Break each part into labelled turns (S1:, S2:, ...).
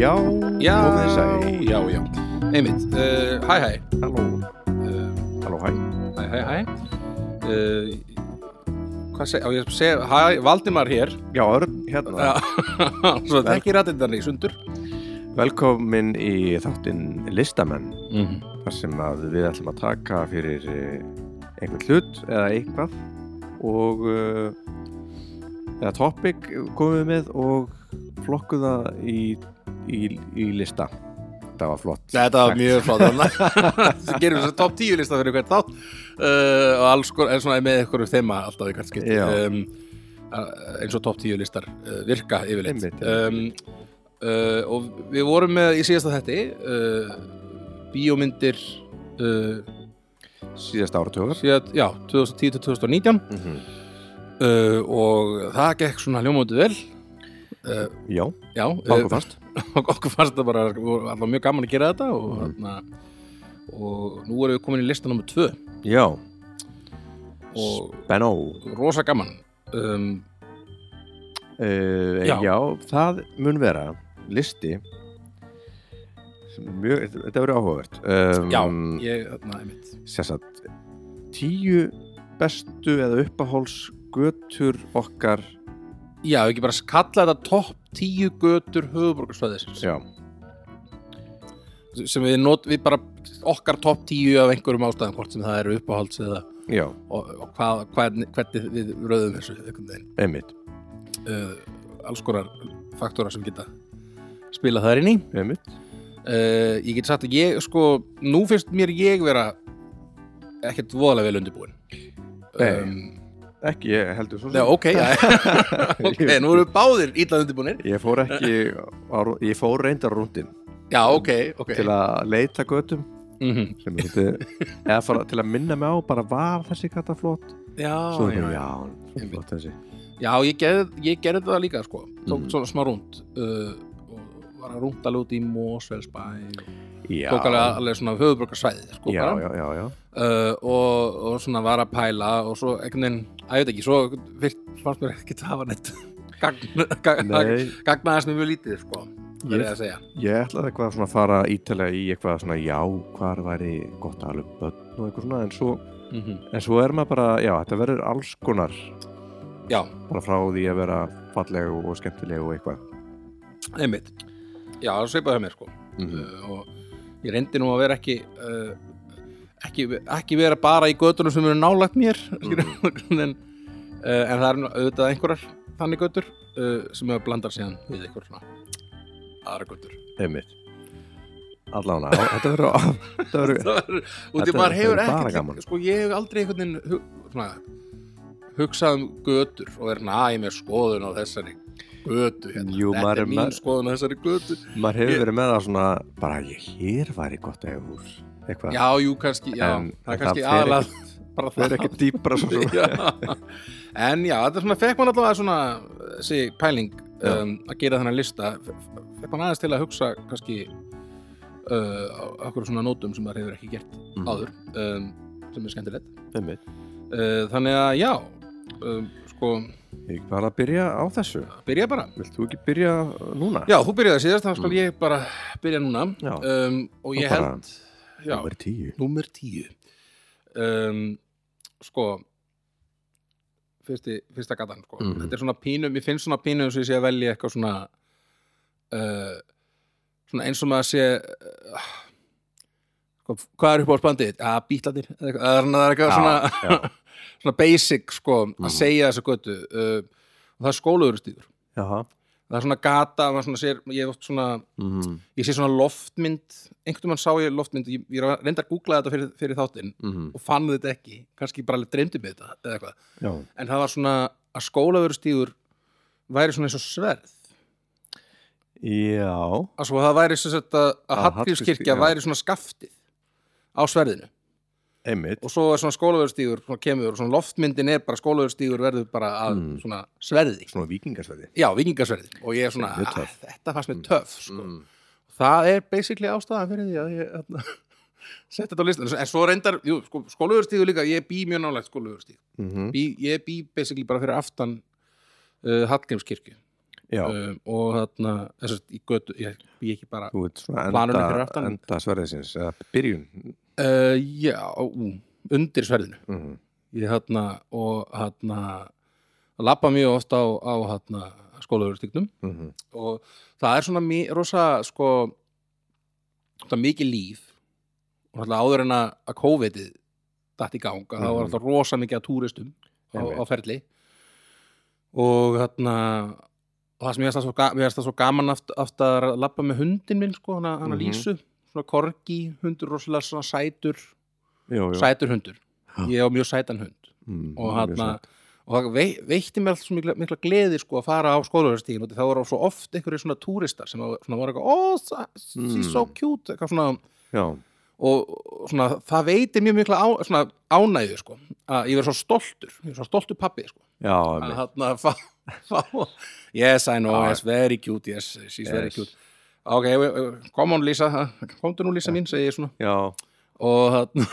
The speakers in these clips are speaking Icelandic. S1: Já,
S2: Komið þið sæl.
S1: já, já Einmitt, uh, hæ hæ
S2: Halló,
S1: uh,
S2: halló, hæ
S1: Hæ hæ hæ uh, Hvað seg, á ég að segja, hæ, Valdimar hér
S2: Já, Örn, hérna
S1: Já, Svo þetta ekki rættindan í sundur
S2: Velkomin í þáttinn listamenn
S1: mm -hmm.
S2: þar sem að við ætlum að taka fyrir eh, einhvern hlut eða eitthvað og eh, eða topic komum við með og flokkuða í, í, í lista Það var flott
S1: Þetta var
S2: Takk.
S1: mjög flott Þetta gerum við svo top 10 lista fyrir hvert þátt uh, og alls konar, en svona með eitthvað þema alltaf í hvert skipt
S2: Já.
S1: um, uh, eins og top 10 listar uh, virka yfirleitt
S2: Einmitt,
S1: um, uh, og við vorum með í síðasta þetti uh, bíómyndir uh,
S2: Síðast áratugur
S1: síðan, já, 2010-2019
S2: mm
S1: uh, og það gekk svona ljómótið vel uh,
S2: Já,
S1: já, uh,
S2: báku fast
S1: og okkur fannst það bara sko, alltaf mjög gaman að gera þetta og, mm. og nú erum við komin í lista nummer 2
S2: Já,
S1: og
S2: Benó
S1: rosa gaman um,
S2: Uh,
S1: Já.
S2: já. það mun vera listi sem er mjög, þetta verður áhugavert
S1: já,
S2: um,
S1: ég, þarna, einmitt
S2: sérsagt tíu bestu eða uppahólsgötur okkar
S1: já, ekki bara kalla þetta topp 10 götur höfuborgarsvæðis
S2: já,
S1: sem við, not, við bara okkar topp 10 af einhverjum ástæðum hvort sem það eru uppáhalds eða
S2: já,
S1: og, og hvað, hvern, hvernig við röðum þessu einhvern veginn
S2: einmitt,
S1: uh, alls konar faktora sem geta spilað þar inn í
S2: einmitt
S1: uh, ég get sagt að ég sko, nú finnst mér ég vera ekkert voðalega vel undirbúin
S2: Nei. ekki, ég heldur svo
S1: Nei, ok, já, ok, nú erum við báðir illa undirbúinir
S2: ég fór ekki á, rú- ég fór reyndar rúndin
S1: Já, ok, ok
S2: til að leita götum
S1: mm
S2: sem er þetta, eða fara, til að minna mig á bara var þessi gata flott
S1: já,
S2: svo
S1: Ah, já,
S2: bara,
S1: já.
S2: já,
S1: Einmitt.
S2: flott þessi
S1: já, ég gerði ég gerði það líka sko, tók
S2: Mhm.
S1: svona smá rúnd uh, og var að rúnda út í Mosfellsbæ og
S2: já,
S1: tók alveg, alveg svona höfuðbrökkarsvæði sko,
S2: já,
S1: bara.
S2: já, já, já.
S1: uh, og, og svona var að pæla og svo einhvern veginn, að ég veit ekki svo fyrst fannst mér ekki að hafa neitt gagn, gagn,
S2: Nei,
S1: gagnaðast mér mjög lítið sko, verið að segja
S2: ég ætlaði eitthvað svona að fara ítalega í eitthvað svona já, hvar væri gott að alveg börn og eitthvað svona en svo,
S1: mm
S2: en svo er maður bara, já, þetta verður alls konar
S1: já,
S2: bara frá því að vera falleg og skemmtileg og eitthvað
S1: einmitt já, það svipaði mér sko uh, og ég reyndi nú að vera ekki uh, ekki, ekki vera bara í götunum sem eru nálagt mér mm. en, uh, en það er auðvitað einhverjar þannig götur uh, sem hefur blandar síðan við einhver svona aðra götur
S2: einmitt allan á, þetta verður þetta verður,
S1: Það er- og því
S2: Þetta-
S1: maður hefur
S2: þetta er bara
S1: ekkert
S2: gaman.
S1: sko ég hef aldrei einhvern veginn hu- svona, hugsað um götur og verið næmi skoðun á þessari götu hérna.
S2: Jú, maður
S1: þetta
S2: er
S1: er mín
S2: með-
S1: skoðun á þessari götu
S2: maður hefur verið með það svona bara, ég, hér væri gott að hús eitthvað,
S1: já, jú, kannski, já,
S2: En-
S1: það er
S2: en
S1: kannski
S2: það fer
S1: aðlað bara
S2: það er ekki dýpra svo svo
S1: Já. en já, þetta er svona fekk mann allavega svona þessi pæling
S2: Já.
S1: um, að gera þennan lista fe- fe- fekk mann aðeins til að hugsa kannski uh, á okkur svona nótum sem maður hefur ekki gert
S2: Mhm.
S1: áður um, sem er skemmtilegt
S2: einmitt,
S1: uh, þannig að já um, sko,
S2: ég er bara að byrja á þessu
S1: byrja bara Mm.
S2: vilt þú ekki byrja núna?
S1: já, þú byrjaði síðast, þá skal ég bara byrja núna
S2: Já.
S1: um, og
S2: Þá
S1: ég
S2: bara-
S1: held já,
S2: Númer tíu
S1: númer tíu um, sko fyrsti, fyrsta gatan sko.
S2: Mhm.
S1: þetta er svona pínu, mér finnst svona pínu eins og ég sé að velja eitthvað svona uh, svona eins og maður sé uh, hvað- hvað er upp á spandið? að bítlatir eða eitthvað, það er- það er eitthvað
S2: Já,
S1: svona
S2: já.
S1: svona basic sko
S2: Mhm.
S1: að segja þessa götu uh, og það er skólaugurustíður
S2: Jaha.
S1: það er svona gata, maður svona sér ég hef oft svona
S2: Mhm,
S1: ég sé svona loftmynd einhvern veginn sá ég loftmynd ég, ég var að reynda að googla þetta fyrir, fyrir þáttinn
S2: mhm.
S1: og fann þetta ekki, kannski bara dreymdi mig þetta eða eitthvað,
S2: Já.
S1: en það var svona að skólaverustígur væri svona eins og sverð
S2: Já.
S1: að svo það væri svo sett að, að
S2: Að
S1: Hallgrímskirkja
S2: Hallgrímskirkja, já.
S1: væri svona skaftið á sverðinu
S2: einmitt
S1: og svo er svona skólaverustígur svona kemur og svona loftmyndin er bara skólaverustígur verður bara að
S2: Mm.
S1: svona sverði
S2: Svona vikingarsverði
S1: já, vikingasverði og ég er svona,
S2: Mjög
S1: "Ah,
S2: töff." Mm.
S1: þetta fannst mér töff sko. það er basically ástæðan fyrir því að ég hérna, setja þetta á listan en svo reyndar, jú, sko, skólaugurustíðu líka ég bý mjög nálægt skólaugurustíð
S2: mm -hmm.
S1: bý, ég bý basically bara fyrir aftan uh, Hallgrímskirkju
S2: já,
S1: um, og þarna þess að í götu, ég bý ekki bara
S2: þú ert svona
S1: planunum fyrir
S2: enda,
S1: aftan.
S2: enda sverðisins eða byrjun
S1: uh, já, ú, undir sverðinu
S2: mm.
S1: ég þarna og þarna lappa mjög oft á, á þarna skólaugurstignum
S2: Mm.
S1: og það er svona mi- rosa sko það er mikið líf og alltaf áður en að að COVID-ið datt í gang, að það
S2: Mhm.
S1: var alltaf rosa mikið að túristum á,
S2: Einmitt.
S1: á ferli og þarna og það sem ég veist það svo, ga- mér fannst það svo gaman aft, aft að labba með hundin minn sko, hana, hana
S2: Mhm.
S1: Lísu, svona korgi hundur, rosalega svona sætur
S2: Jú, jú.
S1: sætur hundur,
S2: Ha.
S1: ég á mjög sætan hund
S2: Mm,
S1: og
S2: mjög
S1: hann
S2: sætt.
S1: og það vei, veitti mér alltaf svo mikla, mikla gleði sko að fara á skólaverðstíðin og það voru svo oft einhverju svona túristar sem að- svona voru eitthvað, ó, oh, she's so
S2: Mm.
S1: cute eitthvað svona,
S2: já,
S1: og og svona, það veitir mjög mikla á, svona, ánægju sko, að ég verið svo stoltur ég verið svo stoltur pappi sko,
S2: já,
S1: að
S2: einmitt.
S1: hann að fá, fá yes, I know,
S2: Já.
S1: yes, very cute yes, she's very
S2: Yes.
S1: cute ok, we- we- come on Lisa, ha, komdu nú Lisa mín segi ég svona,
S2: já
S1: og hann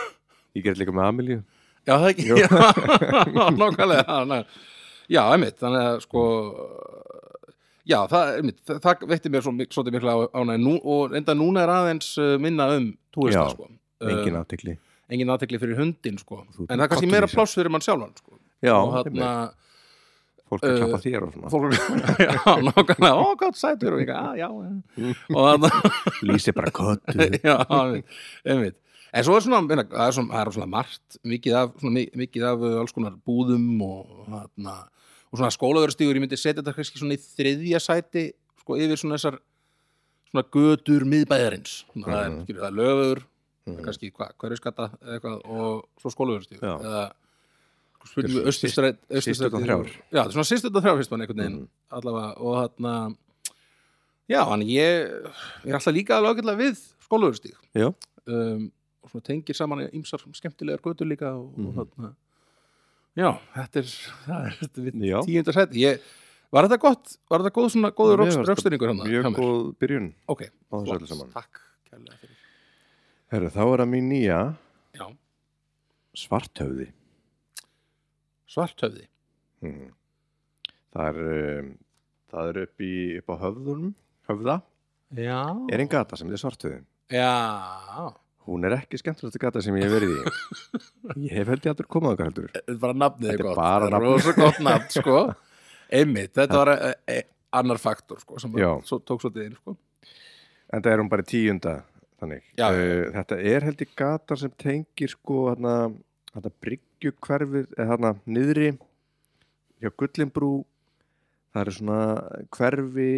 S2: ég gerði líka með Amelíu
S1: Já, það ekki,
S2: Jú.
S1: já, nákvæmlega, já, ná- já, einmitt, þannig að sko, já, það, einmitt, það, það veitti mér svo, mik- svolítið mikla ánæg nú, og enda núna er aðeins uh, minna um túrista,
S2: Já,
S1: sko.
S2: engin aftekli
S1: Uh, engin aðtekli fyrir hundin, sko,
S2: Þú ert
S1: en það
S2: með
S1: er kannski
S2: kollinn
S1: meira
S2: í sér.
S1: pláss fyrir mann sjálfan, sko.
S2: já,
S1: og
S2: einmitt.
S1: þarna,
S2: fólk að
S1: uh,
S2: klappa þér og svona
S1: fólk, já, nákvæmlega, ó, gott sætur og ég, að, já, já, og þarna,
S2: lýsi bara köttu
S1: já, einmitt, einmitt. En svo er svona, meina, það er svona, það er svona margt, mikið af, svona, mi- mikið af uh, alls konar búðum og, hana, og svona skólaverðstígur, ég myndi setja þetta kannski svona í þriðja sæti, sko, yfir svona þessar svona götur miðbæðarins. Svona, það,
S2: Mhm.
S1: er, skilur, það er löfur,
S2: Mhm.
S1: kannski hva, hverjuskatta eða eitthvað og svo skólaverðstígur.
S2: Já.
S1: Eða, sko, spurningu,
S2: Þetta er svona
S1: östustrætt,
S2: systurnar þrjár.
S1: Já, þetta er svona sýstutna þrjár, finnst mann einhvern veginn,
S2: Mhm.
S1: allavega, og þarna, já, hann, ég, ég er alltaf líka alveg ágætlega við skólaverðstíg
S2: já,
S1: um, og svona tengir saman ýmsar skemmtilegar götur líka og,
S2: Mhm.
S1: og þarna já, þetta er, það er þetta er mitt
S2: já
S1: tíundar sæti ég, var þetta gott, var þetta góð svona góður
S2: Já, mér
S1: röks,
S2: fannst
S1: rökstöringur hann
S2: mjög góð byrjun
S1: ok,
S2: á þessu öllu
S1: flott,
S2: saman
S1: takk kærlega fyrir
S2: Herru, þá er að mín nýja
S1: já,
S2: svarthöfði
S1: svarthöfði,
S2: mm. það er um, það er upp, í, upp á höfðunum höfða,
S1: já
S2: er einn gata sem þetta er svarthöfði
S1: já,
S2: hún er ekki skemmtilegasta gata sem ég hef verið í ég hef held ég aldrei komað okkar heldur
S1: þetta er Eh, bara nafnið
S2: Þetta er
S1: gott
S2: bara
S1: þetta
S2: nafnið.
S1: rosa gott nafn, sko einmitt, þetta var e, e, annar faktor, sko, sem
S2: Já.
S1: svo, tók svo inn, sko
S2: en það er hún bara í tíunda þannig,
S1: Já, já,
S2: Eh, þetta er held ég gata sem tengir sko þarna, þarna bryggjuhverfið eða þarna niðri hjá Gullinbrú það eru svona hverfi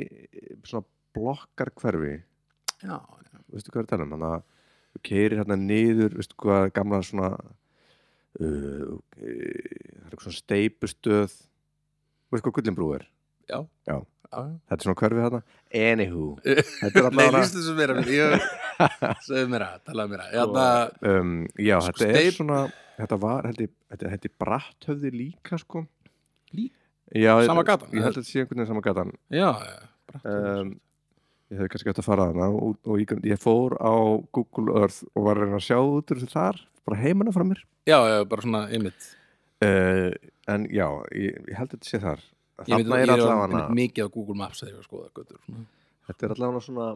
S2: svona blokkar hverfi
S1: já,
S2: veistu hvað er að tala um þannig að þú keirir hérna niður veistu hvað gamla svona uh, ok, það er eitthvað svona steipustöð veistu hvað Gullinbrú er
S1: já,
S2: Já.
S1: já.
S2: þetta er svona hverfi þarna anywho þetta er
S1: Nei,
S2: allavega
S1: lýstu þessu meira ég, Segðu mér að, talaðu mér að Jadna,
S2: um, já,
S1: Sko,
S2: þetta er
S1: steip-
S2: svona þetta var, held ég, þetta heitir bratthöfði líka sko
S1: Lí-
S2: já,
S1: Sama gatan,
S2: ég held að þetta sé einhvern veginn sama gatan
S1: Hérna, Já, já, bara
S2: um, ég hefði kannski gætt að fara þarna og, og ég, ég fór á Google Earth og var að reyna að sjá út úr þessu þar bara heimana frá mér
S1: Já, já, bara svona einmitt
S2: uh, en já, ég, ég held að þetta sé þar
S1: Ég veit,
S2: þarna er
S1: ég var
S2: allavega
S1: einmitt mikið á Google Maps þegar ég var að skoða göttur svona.
S2: þetta er allavega svona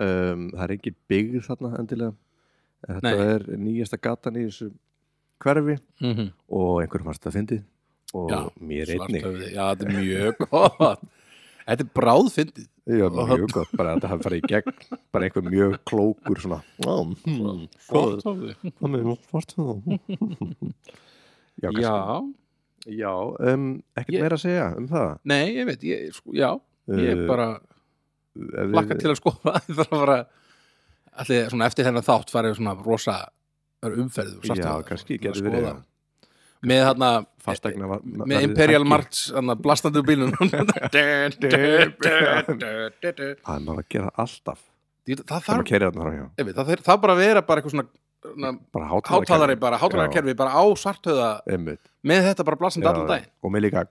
S2: um, það er engin byggð þarna endilega En þetta
S1: Nei.
S2: er nýjasta gatan í þessu hverfi
S1: Mhm.
S2: og einhverjum varst að fyndi og
S1: Já,
S2: mér einnig
S1: Svarthöfði, já, þetta er mjög gott Þetta er bráðfyndið
S2: já, mjög gott, bara að þetta hafi farið í gegn bara einhver mjög klókur svona "Vá, hmm, hvað-
S1: Svarthöfði
S2: hvað með svart hmm." já,
S1: Já,
S2: kannski. já um, ekkert
S1: Ég-
S2: meira að segja um það
S1: nei, ég veit, ég, sko, já
S2: Eh,
S1: Ég bara
S2: uh,
S1: lakka til að skoða Það var bara Allir, svona eftir þennan þátt farið svona rosa umferðu
S2: já, kannski getur verið það.
S1: Með þarna
S2: fastegna var
S1: með Imperial March þannig að blastandi úr bílunum Du, du, du, du, du.
S2: það maður að gera alltaf
S1: Ég- það
S2: það maður
S1: þarf
S2: kerið þarna fram hjá
S1: einmitt, það þarf- það bara að vera bara eitthvað svona, svona
S2: bara hátalari
S1: hátalari bara, hátalarakerfi bara á sartöða
S2: einmitt
S1: með þetta bara blastandi
S2: Já,
S1: allan daginn
S2: og með líka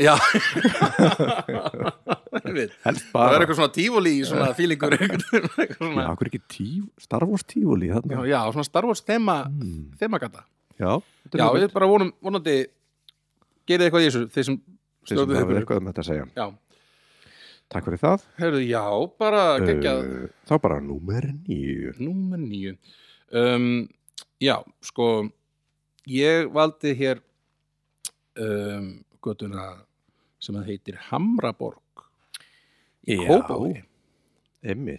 S1: já Einmitt.
S2: helst
S1: það er
S2: bara
S1: eitthvað svona tífóli í svona fílingur eitthvað
S2: já,
S1: svona
S2: okkur ekki tíf, Star Wars tífúli
S1: já,
S2: þarna
S1: já, svona Star Wars þema
S2: Mm.
S1: þemagata
S2: já, þetta er
S1: já,
S2: hugmynd.
S1: ég bara vonum, vonandi gerið eitthvað í þessu þeir sem
S2: þeir sem
S1: Stjórnið
S2: hafa
S1: ykkur.
S2: eitthvað um þetta að segja
S1: Já,
S2: Takk fyrir það
S1: herðu, já, bara geggjað
S2: Uh, Þá bara númer nýju
S1: Númer nýju um, Já, sko Ég valdi hér um, Götuna sem að heitir Hamraborg í
S2: Já.
S1: Kópavogi
S2: Emmi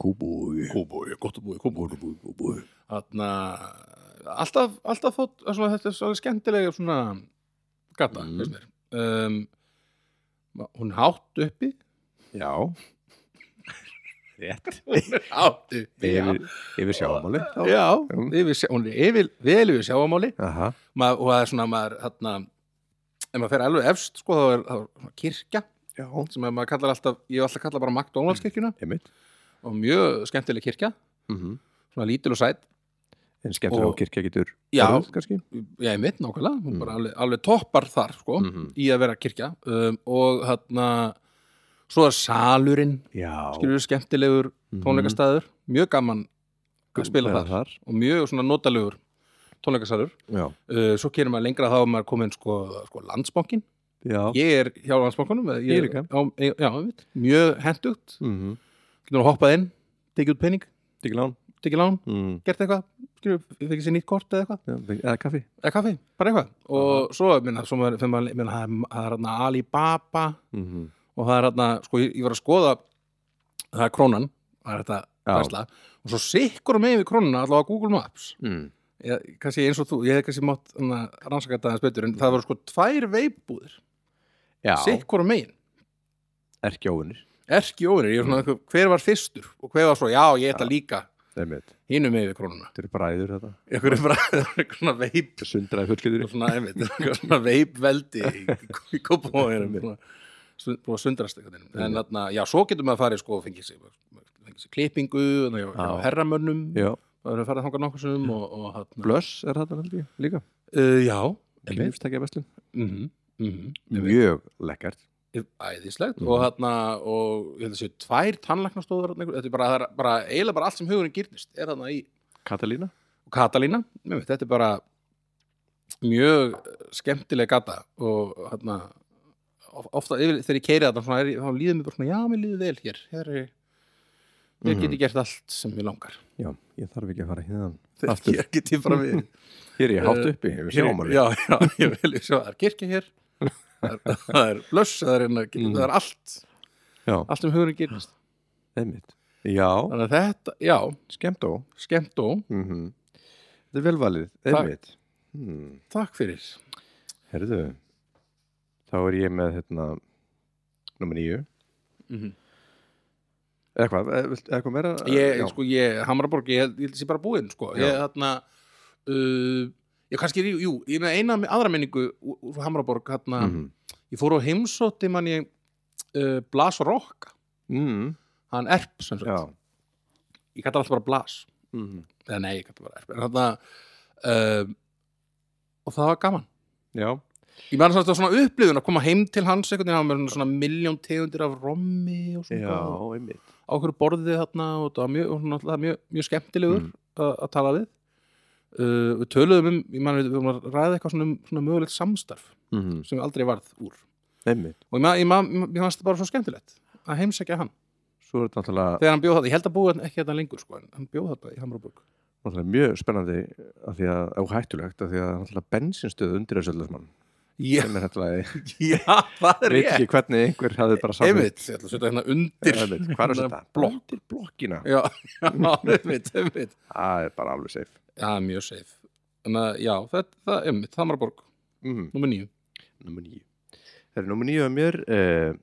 S2: Kúbúi
S1: Kópavogi, gott að búi, Kópavogi
S2: Kúbúi
S1: Þarna, alltaf, alltaf þótt, svona, þetta er svolítið skemmtilega svona gata,
S2: Mm.
S1: finnst mér um, Hún er hátt uppi
S2: Já Rétt
S1: Hátt uppi, já
S2: Yfir, yfir sjáamáli þá.
S1: Já,
S2: Mm.
S1: yfir, sjá- hún er yfir, vel yfir sjáamáli
S2: Aha,
S1: Ma, og það er svona maður þarna, ef maður fer alveg efst sko, þá er, þá er svona kirkja
S2: Já
S1: sem að maður kallar alltaf, ég hef alltaf kallað bara McDonald's-kirkjuna
S2: Emmi
S1: og mjög skemmtileg kirkja,
S2: mm -hmm.
S1: svona lítil og sæt
S2: En skemmtilega
S1: Mhm. Og-
S2: og... kirkja getur
S1: Já.
S2: orðið, kannski
S1: já, ég mitt nákvæmlega, hún
S2: Mm.
S1: bara alveg, alveg toppar þar sko,
S2: Mhm.
S1: í að vera kirkja um, og þarna svo er salurinn,
S2: Já
S1: skilur skemmtilegur tónleikastæður, mjög Mm-hmm. gaman að spila þar
S2: Mhm. þar
S1: og mjög svona notalegur tónleikasalur
S2: Já,
S1: uh, svo kynum maður lengra þá er maður komin sko, sko landsbankin
S2: já.
S1: ég er hjá landsbankunum eða
S2: Ég líka.
S1: já, ég- eh, já, einmitt. mjög hendugt
S2: Mm -hmm.
S1: getur að hoppað inn, tekið út pening
S2: Díklán
S1: tekið lán,
S2: mm.
S1: gert eitthvað skilur, fekir sér nýtt kort eða eitthvað
S2: Já, Eða kaffi
S1: eða kaffi, bara eitthvað og svo, minna, svo maður, fyrir maður, minna, það er- það er hérna Alibaba
S2: mm -hmm.
S1: og það er hérna, sko, ég, ég var að skoða það er krónan, það er þetta
S2: Já.
S1: versla, og svo sikkur með við krónuna allavega Google Maps
S2: mm.
S1: ég, kannski eins og þú, ég hef kannski mátt hana, rannsaka þetta aðeins betur, en það voru sko tvær veipbúðir,
S2: Já,
S1: sikkur megin
S2: erkjóðunir
S1: erki óvinir, ég er svona hver var fyrstur og hver var svo, já, ég ætla líka
S2: Emmi, þetta
S1: hinum með við krónuna
S2: eru bræður þetta
S1: ykkur er bara einhver svona veip
S2: Sundraði fullkjöður
S1: svona, einmitt, einhver svona veipveldi í, í kópavóðinum svona, sund- búið að sundrast einhvern veginn en þarna, já, svo getur maður farið sko og fengið sér, fengið sér klippingu þarna hjá, hjá
S2: Já.
S1: herramönnum,
S2: Já,
S1: það eru farið þangað nokkuð sem og, og hann
S2: blöss er þetta held ég líka
S1: uh, já, einmitt
S2: Kynlífstækja verslun
S1: mm -hmm, mm -hmm,
S2: Mjög lekkert
S1: æðislegt
S2: Mhm.
S1: og þarna og ég held að séu tvær tannlæknastóður þarna einhver- þetta er bara, það er bara, eiginlega bara allt sem hugurinn gyrnist er þarna í
S2: Katalína
S1: og Katalína, nefnir, þetta er bara mjög skemmtileg gata og hérna of- ofta yfir, þegar ég keiri þetta svona, er, ég- þá líður mér bara svona, já, mér líður vel hér hér er, ég
S2: Mhm.
S1: geti gert allt sem ég langar
S2: Já, ég þarf ekki að fara hérna Aftur.
S1: þegar geti bara við
S2: Hér er ég hátt
S1: Eh,
S2: uppi, hefur sjáumari
S1: já, já, ég vil sjá, það er kirkja hér það er- það er blöss, það er, hérna,
S2: Mhm.
S1: það er allt
S2: já.
S1: allt sem hugurinn gerist
S2: einmitt Já,
S1: þannig að þetta, já,
S2: skemmt á
S1: skemmt og
S2: Þetta er velvalið,
S1: Takk.
S2: einmitt hmm.
S1: takk fyrir
S2: Herðu Þá er ég með hérna Númer nýju
S1: Mhm.
S2: Eða hvað, eh, viltu- eða hvað meira?
S1: ég,
S2: já.
S1: sko, ég, Hamraborg, ég held ég held að sé bara búinn, sko, ég,
S2: Já.
S1: þarna uh, ég kannski, jú, jú ég með eina aðra minningu úr úr Hamraborg, þarna,
S2: Mhm.
S1: ég fór á heimsótti mann ég uh, Blas Rokka,
S2: mm.
S1: hann erp sem sagt,
S2: Já
S1: ég kallar alltaf bara Blas
S2: mm.
S1: eða nei, ég kallar bara erp, en þarna uh, og það var gaman
S2: Já,
S1: ég meðan þetta var svona upplifun að koma heim til hans einhvern veginn, hann var með svona miljón tegundir af rommi og svona
S2: já, einmitt
S1: á hverju borðið þarna og það var mjög, og náttúrulega mjög, mjög skemmtilegur
S2: Mm.
S1: að, að tala við uh, við töluðum um, ég man við vorum að ræða eitthvað svona, um, svona mögulegt samstarf
S2: mm.
S1: sem aldrei varð úr
S2: Einmitt
S1: og ég man- ég man- mér fannst það bara svo skemmtilegt að heimsækja hann,
S2: Svo er þetta náttúrulega
S1: þegar hann bjóð þetta ég held að búið ekki þetta lengur sko, en hann bjóð þetta í Hamraborg
S2: náttúrulega mjög spennandi af því að, og hættulegt af því að náttúrulega bensinstöð undir þessu öllasmann
S1: já,
S2: sem er náttúrulega,
S1: já, það
S2: ég veit ekki hvernig einhver hafði bara saman
S1: einmitt, ég ætla að setja hérna undir
S2: hvað er þetta?
S1: Blokk.
S2: Blokk. blokkina,
S1: já, já, einmitt, einmitt
S2: það er bara alveg safe
S1: já, mjög safe þannig að, já, þetta, það, einmitt, Hamraborg
S2: mm.
S1: nummer nýju
S2: nummer nýju það er nummer nýju að mér uh,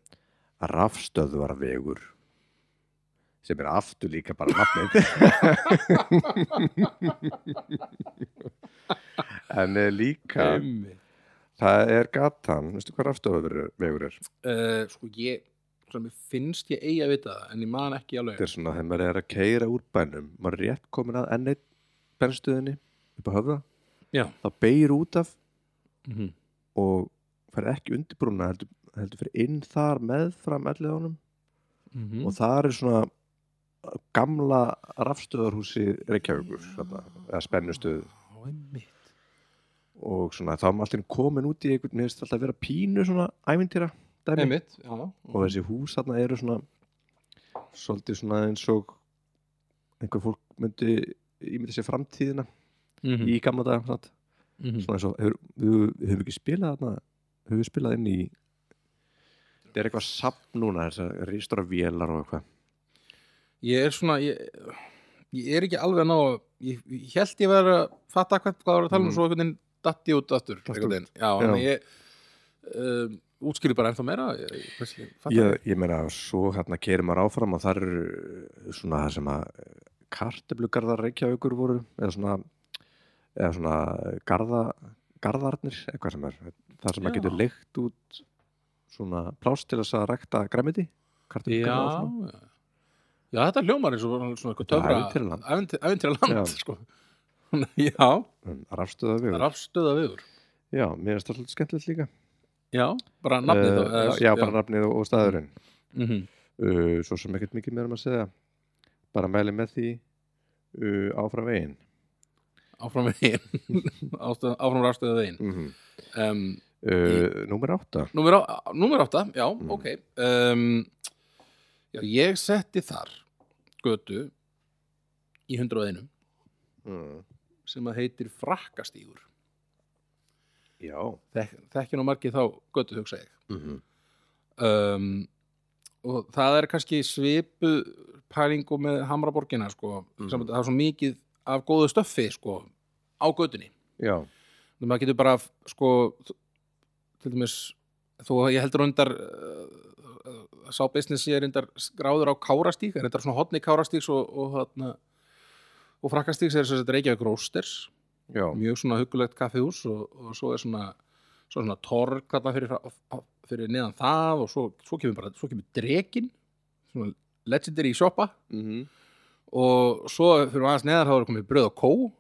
S2: rafstöðvarvegur sem er aftur líka bara nafnið en uh, líka
S1: einmitt
S2: það er gatan, veistu hvað rafstöðvarvegur er
S1: uh, sko ég svona, mér finnst ég eigi að vita það en ég man ekki alveg
S2: þetta er svona þegar maður er að keira úr bænum maður er rétt komin að enn eitt benstöðinni upp að höfða
S1: Já.
S2: þá beigir út af
S1: mm -hmm.
S2: og fer ekki undir brúna heldur, heldur fyrir inn þar meðfram ellið honum
S1: Mm
S2: og þar er svona gamla rafstöðarhúsi Reykjavíkur þarna, eða spennustöð
S1: það
S2: og svona þá er maður allir komin út í einhvern, mér finnst alltaf að vera pínu svona ævintýra dæmi
S1: einmitt, já, já.
S2: og þessi hús þarna eru svona svolítið svona eins og einhver fólk myndi ímynda sér framtíðina
S1: Mhm,
S2: í gamla dag satt.
S1: mhm.
S2: svona eins og hefur, við, við höfum ekki spilað þarna höfum við spilað inn í þetta er eitthvað sapn núna þessar ristora vélar og eitthvað
S1: ég er svona ég, ég er ekki alveg að ná að- ég, ég held ég verið að fatta hvað, hvað var að tala um
S2: Mhm.
S1: svo einhvern veginn datti út aftur
S2: Datt
S1: einhvern veginn. já,
S2: Já.
S1: já. ég um, útskýri bara ennþá meira ég, ég, ég,
S2: ég, ég meina svo hérna keirir maður áfram og þar eru eh, svona það sem að karteblugarðar Reykjavíkur voru eða svona, eða svona eh, garða, garðarnir eitthvað sem er, þar sem maður
S1: Já.
S2: getur leikt út svona plást til þess að rækta græmiti
S1: já,
S2: karteblugarðar og svona.
S1: já. já, þetta hljómar eins og bara svona eitthvað
S2: Já,
S1: töfra
S2: ævintýraland.
S1: æventýra
S2: Já.
S1: land sko. já,
S2: Um, rafstöða
S1: það
S2: vegur
S1: er afstöða viður
S2: já, mér finnst það svolítið skemmtilegt líka
S1: já, bara nafnið
S2: Eh,
S1: þá eða,
S2: já, bara nafnið og, og staðurinn
S1: Mhm.
S2: uh, svo sem ekkert mikið meira um að segja bara mæli með því uh, áfram veginn
S1: áfram veginn Ástöð- áfram afstöða veginn
S2: mm -hmm.
S1: um,
S2: uh, númer átta
S1: Númer, á, númer átta, já, ok um, Já, ég setti þar götu í 101
S2: mm.
S1: sem að heitir frakkastígur
S2: já
S1: Þek, Þekkin og margið þá götu hugsa ég
S2: mm -hmm.
S1: um, og það er kannski svipu pælingu með Hamraborgina sko,
S2: Mhm.
S1: mm. það er svo mikið af góðu stöffi sko, á götunni
S2: já
S1: Þannig maður getur bara sko til dæmis þó að ég heldur undar uh, sá business ég er undar gráður á kárastík er undar svona hotni kárastíks og, og, hana, og frakkastíks er þess að reykja grósters
S2: já,
S1: mjög svona hugulegt kaffihús og, og svo er svona, svo er svona torg þarna fyrir, fra- á- á- fyrir neðan það og svo, svo kemur bara svo kemur drekin svona legendary shoppa
S2: Mhm.
S1: og svo fyrir aðeins neðar þá er komið brauð og kó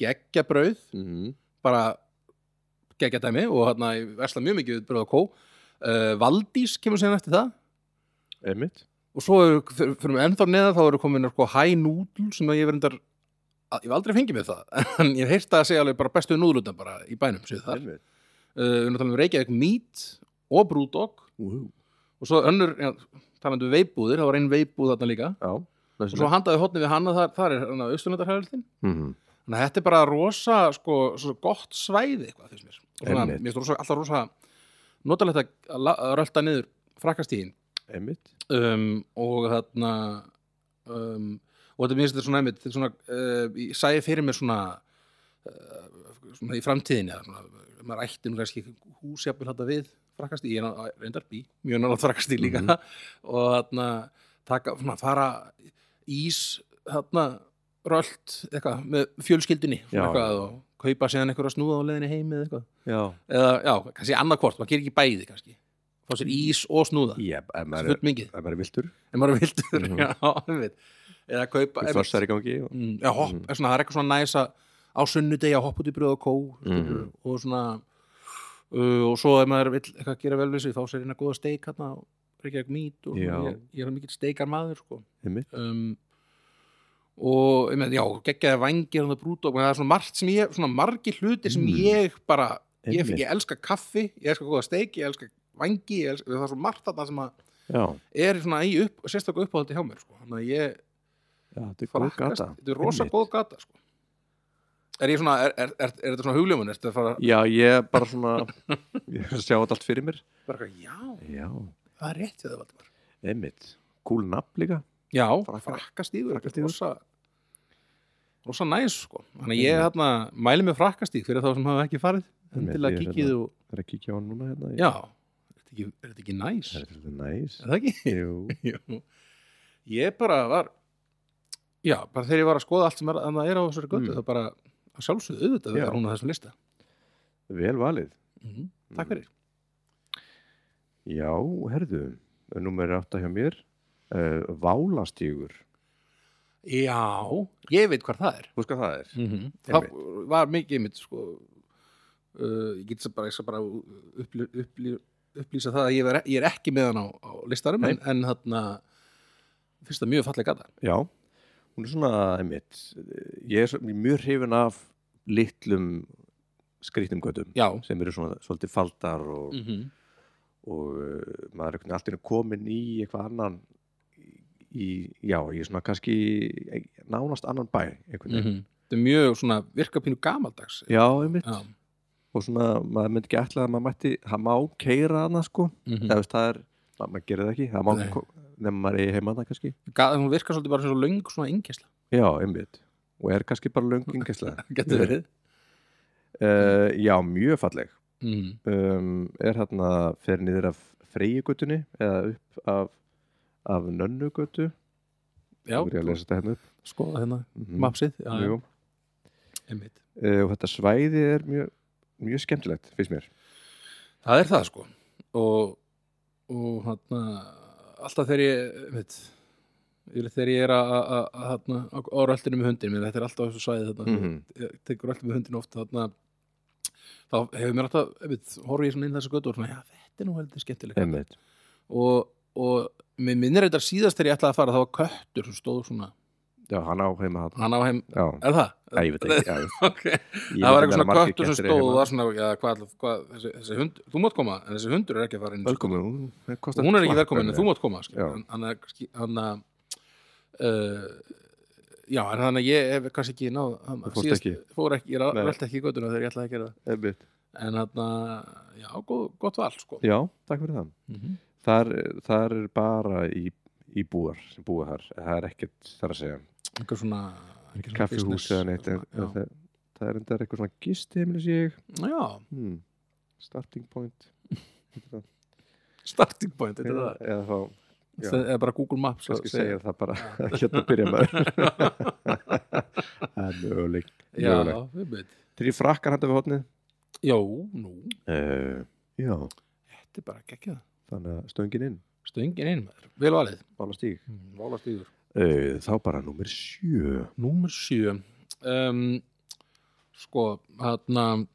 S1: geggja brauð
S2: Mhm.
S1: bara geggja dæmi og hérna ég versla mjög mikið við bröð og kó uh, Valdís kemur síðan eftir það
S2: einmitt
S1: og svo eru- fyr- fyrir mig ennþá neða þá eru komin sko hæ núdl sem að ég verndar ég hef aldrei fengið með það en ég hef heyrt það að segja alveg bara bestu núðlutan bara í bænum séu þar uh,
S2: einmitt
S1: við erum að tala um Reykjavík Meat og Brúdog
S2: Úhú.
S1: og svo önnur já, talandi um veipúðir, það var einn veipúð þarna líka
S2: já
S1: og svo handaði hotni við hana þar, þar er hann að austurlöndarhæðildin
S2: mm -hmm.
S1: Þannig að þetta er bara rosa, sko, svo gott svæði eitthvað fyrst mér. Og svona,
S2: Einmitt.
S1: mér finnst rosa, alltaf rosa notalegt að, að la- að rölda niður frakkastíðin
S2: einmitt
S1: um, og þarna um, og þetta minnst þetta svona einmitt, þetta er svona, uh, ég sæði fyrir mér svona uh, svona í framtíðinni eða svona, maður ætti nú kannski húsjafnir þetta við frakkastíð, ég er ná- reyndar bí, mjög náttúrulega frakkastíð líka
S2: Mhm.
S1: og þarna taka, svona, fara ís þarna rölt eitthvað með fjölskyldinni svona
S2: Já,
S1: eitthvað, og kaupa síðan einhverja snúða á leiðinni heim eða eitthvað
S2: já
S1: eða já, kannski annarkvort, maður gerir ekki bæði kannski fá sér ís og snúða
S2: ég, ef maður er
S1: full mingið
S2: ef maður er viltur
S1: ef maður er vildur
S2: Mhm.
S1: já, einmitt. eða kaupa
S2: við
S1: einmitt.
S2: fossar í gangi og...
S1: Mm, já, hopp,
S2: Mhm.
S1: mm. svona, það er eitthvað svona næsa á sunnudegi að hoppa út í bröð og kó
S2: Mhm.
S1: og svona uh, og svo ef maður vill eitthvað gera vel við sig þá sér eina góða steik hérna og reykja ekki mít og
S2: Já.
S1: ég, ég er mikill steikar maður sko.
S2: einmitt
S1: um, og ég meina, já, geggjaði vængir hann að brúta og það er svona margt sem ég svona margi hlutir sem
S2: Mm.
S1: ég bara ég,
S2: Einmitt.
S1: ég elska kaffi, ég elska góða steik ég elska vangi, ég elska, það er svona margt þarna sem að
S2: já
S1: er svona í upp, sérstaklega uppáhaldi hjá mér sko. þannig að ég
S2: já þetta er góð
S1: frakkast,
S2: gata
S1: þetta er rosa
S2: Einmitt.
S1: góð gata sko. er ég svona er, er, er, er þetta svona hugljómun, er þetta að fara
S2: já ég bara svona ég sjá þetta allt fyrir mér
S1: bara, eitthvað, já,
S2: já
S1: það er rétt við það Valdimar
S2: einmitt kúl nafn líka
S1: já,
S2: Frakka-
S1: frakkastígur, þetta er
S2: frakkastígur.
S1: rosa rosa næs sko. þannig að ég hérna mæli með frakkastíg fyrir þá sem hafa ekki farið
S2: Einmitt,
S1: til að
S2: ég er hérna-
S1: kikið og,
S2: Það er að kíkja á hann núna hérna.
S1: já er þetta ekki, er þetta ekki næs,
S2: Það er svolítið næs.
S1: er það ekki
S2: Jú.
S1: Jú. ég bara var já, bara þegar ég var að skoða allt sem er, þarna er á þessari götu
S2: Mm.
S1: þá bara að sjálfsögðu auðvitað
S2: Já.
S1: er hún að þessum lista
S2: Vel valið.
S1: mm. takk fyrir
S2: Já, herðu. Númer 8 hjá mér. Uh, Válastígur.
S1: já, ég veit hvað það er
S2: Þú veist hvað það er?
S1: mm það var mikið mitt sko uh, ég get sem bara, ég skal bara uppli, uppli, upplýsa það að ég er, ég er ekki með hann á, á listarum en, en þarna finnst það mjög falleg gata
S2: Já. eh, Hún er svona, einmitt, ég er svo- mjög hrifin af litlum skrýtnum göttum
S1: já
S2: sem eru svona svolítið faldar og,
S1: mm
S2: og uh, maður er einhvern veginn allt í einu komin í eitthvað annan í, já, í svona kannski nánast annan bæ einhvern veginn.
S1: þetta er mjög svona virkapínu gamaldags
S2: Já, einmitt
S1: Mhm. já.
S2: og svona, maður myndi ekki ætla að maður mætti það má keira hana sko
S1: Mhm.
S2: það, veist, það er, ma- maður gerir það ekki það má,
S1: Nei.
S2: ko- nema maður eigi heima hana kannski
S1: Ga- hún virkar svolítið bara eins og löng svona yngjæsla
S2: já, einmitt, og er kannski bara löngingislega
S1: getur verið
S2: Mm. uh, já, mjög falleg
S1: mm.
S2: um, er hérna fer niður af freyjugutunni eða upp af, af nönnugutu
S1: já,
S2: Nú er ég að lesa þetta hérna upp
S1: skoða hérna
S2: Mhm.
S1: mapsið já, já,
S2: Jú.
S1: einmitt.
S2: uh, og þetta svæði er mjög mjög skemmtilegt, finnst mér
S1: það er það sko og, og hann alltaf þegar ég veit, yfirleitt þegar ég er að- að að- að, þarna, á áröldinu með hundin minn, þetta er alltaf á þessu svæði þetta
S2: Mhm.
S1: ég tekur alltaf með hundin oft þarna, þá hefur mér alltaf veit, horf ég svona inn þessa götu og svona já, þetta er nú heldur skemmtilegt
S2: einmitt,
S1: og, og mér minnir þetta síðast þegar ég ætlaði að fara þá var köttur sem stóð svona
S2: já, hann á heima hann
S1: hann á heim,
S2: já,
S1: er það?
S2: Æ, ég veit ekki já, ég-
S1: Ok.
S2: ég
S1: það var
S2: veit
S1: eitthvað
S2: að
S1: svona
S2: margir
S1: köttur sem
S2: kettir hérna.
S1: stóð
S2: eiga
S1: og
S2: heima.
S1: var svona, já, hvað, ætla- hvað þessi, þessi hund, þú mátt koma, en þessi hundur er ekki að fara inn
S2: velkomin, hún- það
S1: og
S2: kostar
S1: hún er ekki
S2: slapp,
S1: velkomin, en þú mátt koma skilur.
S2: Já.
S1: Hann- hann er kannski- hann að uh, já, en þannig að ég hef kannski ekki náð hann,
S2: Þú fórst ekki.
S1: fór ekki, ég
S2: Nei.
S1: velti ekki í göttuna þegar ég ætlaði að gera
S2: Einmitt.
S1: það en hann að, já, góð, gott val sko.
S2: já, takk fyrir það
S1: mm -hmm.
S2: þar, þar er bara í, í búar sem búa þar, það er ekkert þar að segja
S1: einhver svona einhver svona
S2: kaffihús
S1: business.
S2: eða neitt en,
S1: já,
S2: en það, það er enda eitthvað svona gist heimilis ég
S1: já. já,
S2: hmm. starting point
S1: starting point þetta
S2: eða,
S1: er
S2: eða þá já.
S1: það, eða bara Google Maps
S2: kannski
S1: að segja.
S2: segja það bara hérna byrja maður það er möguleik
S1: já,
S2: möguleik.
S1: við veit
S2: þrjú frakkar handa við hotnið
S1: já, nú,
S2: uh, já,
S1: þetta er bara geggjað
S2: þannig að stöngin inn
S1: stöngin einn maður, vel valið
S2: bála stíg
S1: Vála stíður
S2: uh, þá bara númer sjö
S1: Númer sjö um, Sko, hérna uh,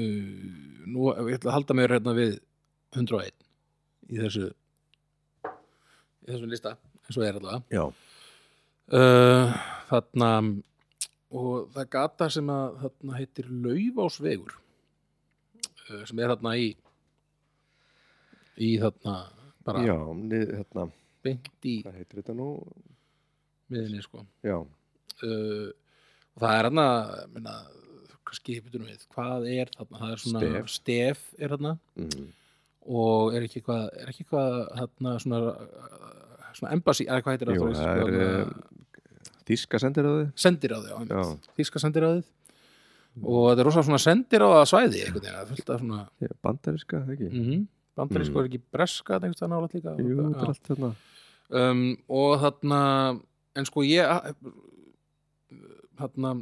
S1: Nú, ég ætla að halda mér hérna við 101 í þessu í þessum lista, eins og er allavega
S2: já,
S1: uh, Þarna og það er gata sem að þarna heitir Laufásvegur uh, sem er þarna í í þarna bara
S2: já nið, hérna,
S1: beint í
S2: hvað heitir þetta nú
S1: miðinni sko
S2: já,
S1: uh, og það er hann að minna, kannski betur við hvað er þarna, það er svona
S2: Stef.
S1: stef er þarna
S2: mm.
S1: og er ekki hvað er ekki hvað þarna svona uh, svona embassy, eða hvað heitir
S2: Jú,
S1: aftur á
S2: það
S1: íslensku,
S2: er,
S1: þarna,
S2: þíska sendir á þið
S1: sendiráði á
S2: Já.
S1: einmitt, þíska sendiráðið og þetta er rosa svona sendiráða svæði einhvern veginn, það er fullt af svona
S2: bandariska, það ekki
S1: mm -hmm, bandarísko
S2: Mm.
S1: er ekki breska þarna einhvers það nálægt líka
S2: Jú,
S1: Já.
S2: þetta er allt þarna
S1: um, og þarna en sko ég þarna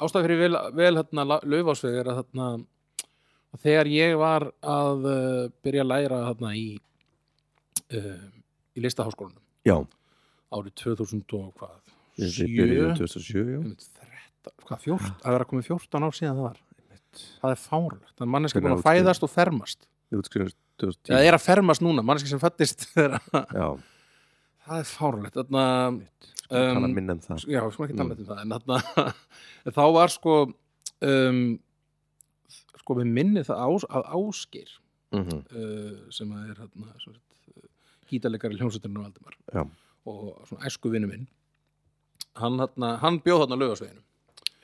S1: ástæð fyrir vel, vel þarna laufásveg er að þarna að þegar ég var að uh, byrja að læra þarna í uh, í listaháskólanum
S2: Já,
S1: árið 2000 og hvað
S2: við
S1: sjö,
S2: byrjuðum 2007 já.
S1: einmitt, 13, hvað 14,
S2: Ah.
S1: að vera komið 14 ár síðan það var það er fárlegt, það er manneski búin
S2: Hvenær
S1: að
S2: útskrifaðist?
S1: fæðast og fermast
S2: Við útskrifum
S1: það
S2: 2010
S1: er að fermast núna, manneski sem fættist þegar-
S2: Já,
S1: það er fárlegt þarna
S2: sko tala
S1: Um,
S2: minna um það
S1: já, við skulum ekki tala
S2: Mm.
S1: mm. um það en þarna, en þá var sko um, sko við minni það ás, að Ásgeir
S2: mm -hmm.
S1: uh, sem að er hérna, sem sagt, uh, gítarleikari hljómsveiturinn og Valdimar
S2: Já.
S1: og svona æsku vinnu minn hann, hérna, hann bjóð þarna lögasveginu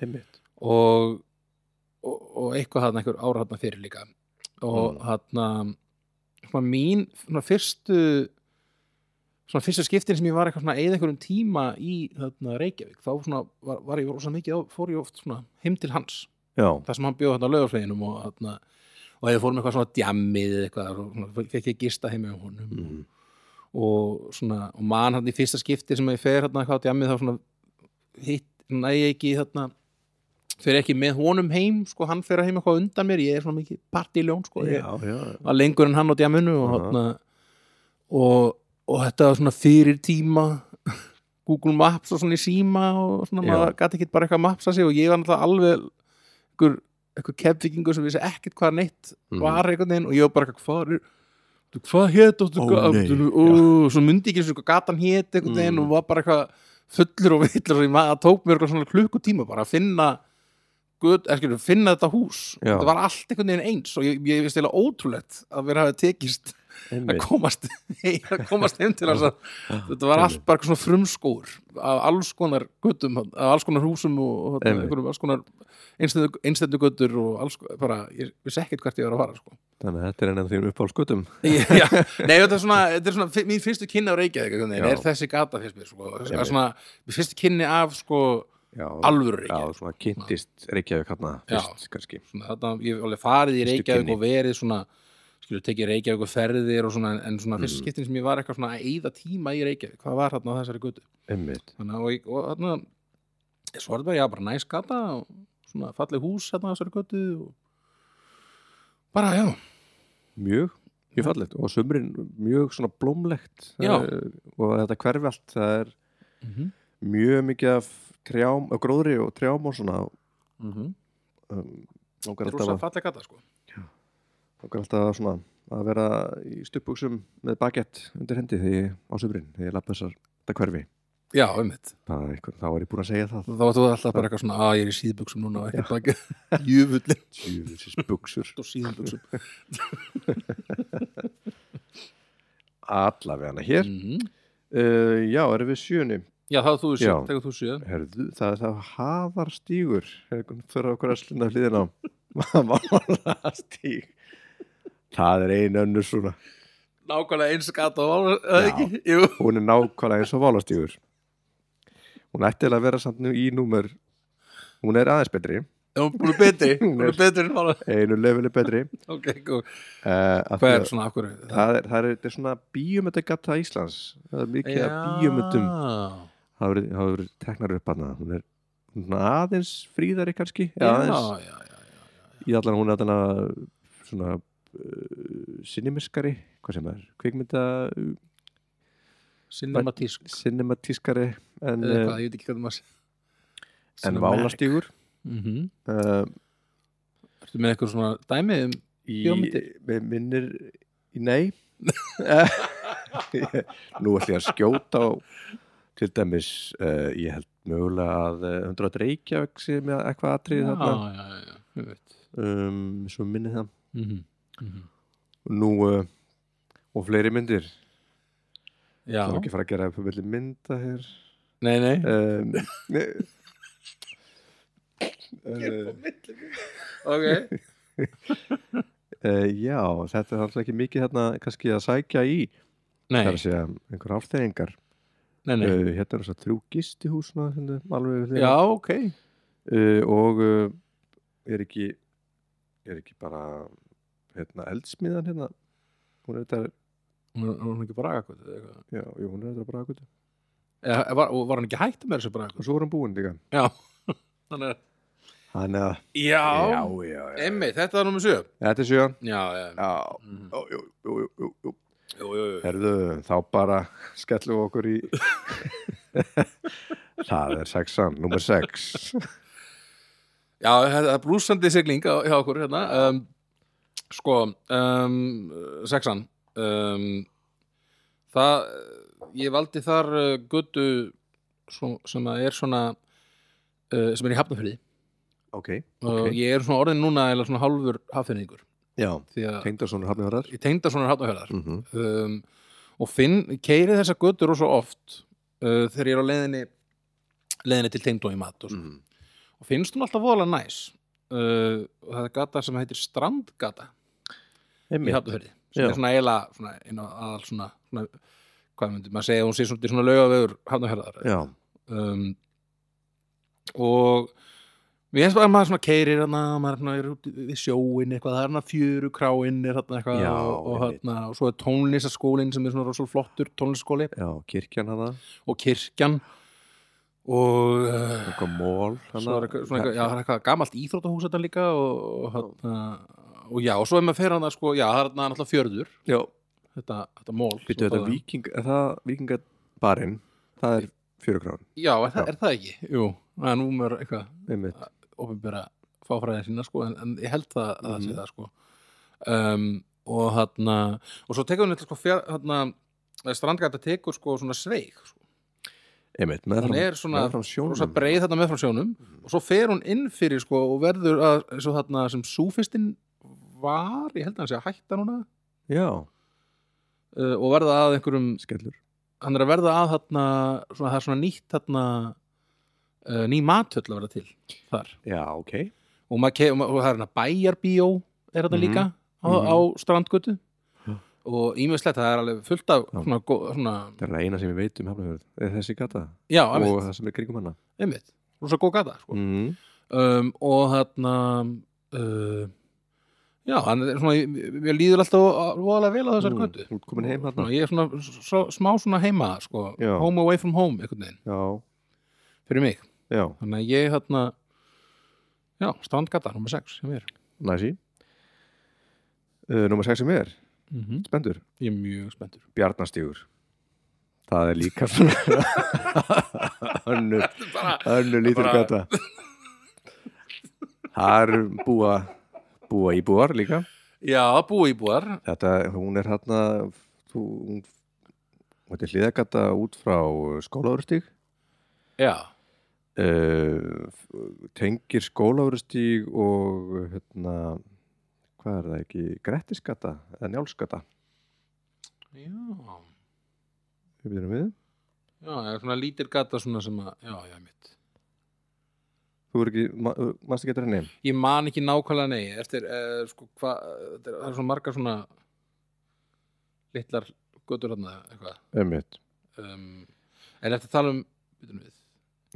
S2: Einmitt
S1: og, og, og eitthvað þarna einhver ára þarna fyrir líka og
S2: Mm.
S1: þarna svona mín svona fyrstu svona fyrsta skiptin sem ég var eitthvað svona eða einhverjum tíma í þarna Reykjavík þá svona var, var ég rosa mikið á, fór ég oft svona heim til hans
S2: Já,
S1: það sem hann bjóð þarna lögafleginum og þarna og eða fórum eitthvað svona djammið eða eitthvað og svona fekk ég gista heim með honum
S2: mm.
S1: og svona og man hann í fyrsta skipti sem ég fer hérna hvað á djammið þá svona hitt næ ég ekki þarna fer ekki með honum heim sko hann fer að heim eitthvað undan mér ég er svona mikið partíljón sko ég,
S2: já, já
S1: var lengur en hann á djaminu og,
S2: Aha.
S1: þarna, og, og þetta var svona fyrir tíma Google Maps og svona í síma og svona
S2: Já.
S1: maður gæti ekki bara eitthvað að mapsa sig og ég var náttúrulega alveg einhver, einhver kefvikingur sem vissi ekkert hvað neitt
S2: Mhm.
S1: var einhvern veginn og ég var bara eitthvað hvað er þú- hvað hét og þú-
S2: Ó,
S1: hvað-
S2: nei.
S1: þú- ó, svo myndi ég ekki eins og hvað gatan hét einhvern veginn
S2: Mm.
S1: og var bara eitthvað fullur og villur og ég maður það tók mér eitthvað svona klukkutíma bara að finna göt, er, skilur, finna þetta hús
S2: Já.
S1: þetta var allt einhvern veginn eins og ég, ég veist eða ótrúlegt að vera hafa tekist að
S2: einmitt
S1: komast, að komast heim til þess að þetta var allt bara eitthvað svona frumskóur af alls konar göttum af alls konar húsum og þarna
S2: Einmitt.
S1: einhverjum alls konar einstættu göttur og alls konar, bara, ég vissi ekkert hvert ég var að fara sko.
S2: þannig að þetta er ennum því um uppáhalskutum
S1: Ég- Já, nei, þetta er svona, þetta er svona fi- mín fyrstu kynni á Reykjavík einhvern veginn,
S2: Já.
S1: er þessi gata fyrst mér sko, Það er
S2: Einmitt.
S1: svona, mér fyrstu kynni af sko,
S2: já,
S1: alvöru
S2: já,
S1: Reykjavík
S2: svona kynntist Reykjavík hérna fyrst kannski
S1: svona, þetta, ég hef alveg farið í
S2: Fyrstu
S1: Reykjavík
S2: kynni.
S1: og verið svona skilur, tekið Reykjavík og ferðir og svona, en- en svona
S2: Mm.
S1: fyrst skiptin sem ég var eitthvað svona að eyða tíma í Reykjavík, hvað var þarna á þessari götu
S2: einmitt
S1: þannig að, og, og þarna svo var þetta bara, já, bara næs gata og svona falleg hús þarna á þessari götu og bara, já,
S2: mjög, mjög fallegt og sumrin mjög svona blómlegt Það
S1: Já.
S2: er, og þetta hverfi allt það er
S1: mm
S2: Mhm.
S1: -hmm.
S2: mjög mikið af trjám, af gróðri og trjám og svona
S1: Mm
S2: um, okkar alltaf,
S1: rosa
S2: að-
S1: falleg gata, sko
S2: langar alltaf að svona að vera í stuppbuksum með bagett undir hendi þegar ég á sumrin þegar ég lappa þessar þetta hverfi
S1: já, einmitt
S2: það, er einhver, þá er ég búin að segja það
S1: þá vartu alltaf bara eitthvað svona, að ég er í síðbuksum núna og ekkert baki jöfullin
S2: Jöfnsis buksur
S1: og síðbuksum
S2: allavega hér
S1: mm -hmm.
S2: uh, já, erum við sjöni
S1: já, það var
S2: Já.
S1: þú sér, tekur þú sér
S2: Herðu, það er það hafar stígur fyrir okkur að slunna hliðina hafar stíg það er einu önnur svona
S1: nákvæmlega eins gata og ára, eða
S2: Já.
S1: ekki Jú.
S2: hún er nákvæmlega eins og válastígur hún ætti eiginlega að vera samt nú í númer hún er aðeins betri
S1: Já, hún er betri, hún
S2: Hún
S1: er
S2: er-
S1: betri en ára
S2: einu leveli betri
S1: ok, góð.
S2: uh,
S1: hvað er svona, af hverju
S2: það er, það er, þetta er svona bíómyndagatta Íslands það er mikið af bíómyndum það hefur- það hefur verið teknar upp hana hún er hún er svona aðeins fríðari kannski
S1: já,
S2: eða aðeins
S1: já, já, já.
S2: í allan hún er allan að svona uh, sinimiskari, hvað sem er kvikmynda, eh,
S1: cinematísk
S2: sinematískari en,
S1: eða
S2: uh,
S1: eitthvað, ég veit ekki hvað það maður
S2: en
S1: Cinematic.
S2: válastígur
S1: Mhm.
S2: uh,
S1: Ertu með eitthvað svona dæmi um
S2: í,
S1: Bíómyndir?
S2: með minnir í nei nú ætlum ég að skjóta á til dæmis uh, ég held mögulega að uh, 100 Reykjavík sé með eitthvað atrið þarna
S1: já, já, já, ég veit
S2: um, svo minni það
S1: mm -hmm.
S2: nú uh, og fleiri myndir
S1: Já,
S2: það er ekki að fara að gera upp um milli mynda hér
S1: nei, nei
S2: um, uh,
S1: Ok,
S2: uh, já, þetta er alltaf ekki mikið hérna kannski að sækja í það er
S1: nei,
S2: að segja einhver afþeyringar
S1: nei, nei
S2: uh, hérna er þess að þrjú gistihús svona, hérna, alveg við hliðina.
S1: Já, ok
S2: uh, og uh, er ekki er ekki bara hérna, eldsmiðan hérna hún er þetta,
S1: Hún var hún ekki braga eða eitthvað
S2: já, jú, hún er þetta bara aðgötu
S1: Eða, var, og var hann ekki hægt með þessu braga
S2: og svo er hún búin líka
S1: Já, þannig að
S2: hann er
S1: Já,
S2: já,
S1: emmi, þetta er nummer 7
S2: þetta er sjöan
S1: Já, já,
S2: já,
S1: Mhm.
S2: Ó, jú, jú, jú, jú, jú
S1: jú, jú, jú
S2: Herðu, þá bara skellum við okkur í Það er sexan, nummer sex
S1: Já, þetta er blúsandi sigling á- hjá okkur hérna um, Sko, um, sexan um, Það, ég valdi þar uh, götu svo, sem að er svona uh, sem er í hafnafyrði
S2: Ok,
S1: og ég er svona orðin núna eða svona hálfur hafnafyrðingur
S2: Já,
S1: því að
S2: Tengdarsonur hafnifærar
S1: ég tengda svona hafnafyrðar
S2: mm -hmm.
S1: um, og finn, keiri þessa götu rosa oft uh, þegar ég er á leiðinni leiðinni til tengdó í mat og, mm. og finnst hún alltaf voðalega næs uh, og það er gata sem heitir Strandgata í Hafnarfjörði sem
S2: Já.
S1: er svona eiginlega svona, inn á aðal svona, svona hvað myndi maður segja, hún sé svona, svona laugavegur Hafnarfjörðar
S2: Já,
S1: um, og Mér finnst bara að maður svona keirir hana, maður svona er út við sjóin eitthvað, það er hana fjöru kráin er hana eitthvað
S2: Já,
S1: og, og,
S2: einmitt.
S1: hana, og svo er tónlistaskólinn sem er svona rosalega flottur tónlistaskóli
S2: já, kirkjan hana
S1: og kirkjan og uh,
S2: Eitthvað mól hana
S1: svo er eitthvað, svona eitthvað, já, það er eitthvað gamalt íþróttahús þetta líka og, og, hérna, og já, og svo er maður fer hann að sko, já, það er þarna náttúrulega fjörður
S2: Já,
S1: þetta, þetta mól
S2: Býttu,
S1: sem
S2: þetta
S1: það-
S2: viking, er það vikingabarinn Það er fjörugrán
S1: Já, er, það-
S2: Já.
S1: er það ekki? Jú, það er númer eitthvað
S2: Einmitt,
S1: ofinbera fáfræðin sína sko, en, en ég held það að það sé
S2: Mhm.
S1: það sko. um, og þarna eh, og svo tekur hún eitthvað sko, fjár, þarna, strandgata tekur sko svona sveig sko.
S2: einmitt, með
S1: hún er svona
S2: meðfram sjónum. Mhm.
S1: rosa breið þarna með frá sjónum og svo fer hún inn fyrir sko og verður að, eins og þarna sem súfistinn var, ég held að hann sé að hætta núna
S2: Já,
S1: uh, og verða að einhverjum
S2: skellur
S1: hann er að verða að þarna svona, það er svona nýtt þarna uh, ný matöll að verða til þar
S2: Já, ok
S1: og, maður, ke- og, maður- og það er hérna bæjarbíó er þetta
S2: Mhm.
S1: líka á,
S2: Mhm.
S1: á strandgötu
S2: Já.
S1: og ímislegt það er alveg fullt af
S2: Já.
S1: svona, gó- svona
S2: Það er það eina sem ég veit um hafnafjörð er þessi gata
S1: já,
S2: og
S1: einmitt,
S2: það sem er kringum hana
S1: einmitt rosa góð gata sko.
S2: mm.
S1: um, og þarna uh, já, hann er svona mér líður alltaf voðalega vel á þessar götu
S2: Þú ert Mm. komin heim
S1: Svona,
S2: þarna
S1: ég er svona svo, smá svona heima sko,
S2: Já.
S1: home away from home einhvern veginn,
S2: Já,
S1: fyrir mig
S2: já,
S1: þannig að ég þarna já, strandgata, nummer 6 hjá mér
S2: næsi uh, Númer 6 sem er, spendur
S1: ég er mjög spenntur
S2: Bjarnastígur Það er líka svona önnur, önnur lítur
S1: bara-
S2: gata Það er búa búa íbúar líka
S1: já, búi íbúar
S2: Þetta, hún er hérna þú, hún, þetta er hliðagata út frá uh, skólaurustíg
S1: já,
S2: uh, tengir skólaurustíg og hérna hvað er það ekki, Grettisgata eða Njálsgata,
S1: já,
S2: við byrjum við
S1: já það er svona lítil gata svona sem að, já, já, mitt
S2: þú er ekki, ma, maður getur henni
S1: ég man ekki nákvæmlega nei eftir, uh, sko, hvað þetta er- það er svona margar svona litlar götur hérna eitthvað
S2: Ömmit,
S1: um, en eftir tala um byrjum við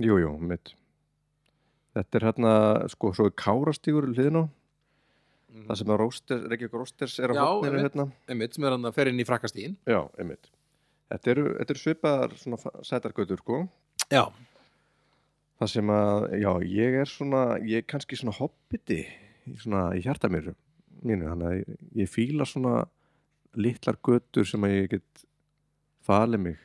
S2: jú, jú, mitt Þetta er hérna, sko, svo er Kárastígur hliðin á,
S1: Mhm.
S2: það sem að Rósters, Reykjavík Rósters er á
S1: Mm. Já,
S2: hotninu
S1: einmitt.
S2: hérna
S1: einmitt sem er hann að fer inn í frakkastíðin
S2: Já, einmitt Þetta eru, þetta eru svipaðar svona fa- sætargötur, sko
S1: já,
S2: Það sem að, já, ég er svona, ég er kannski svona hobbiti í svona í hjarta mér, mínu, þannig að ég, ég fíla svona litlar götur sem að ég get falið mig,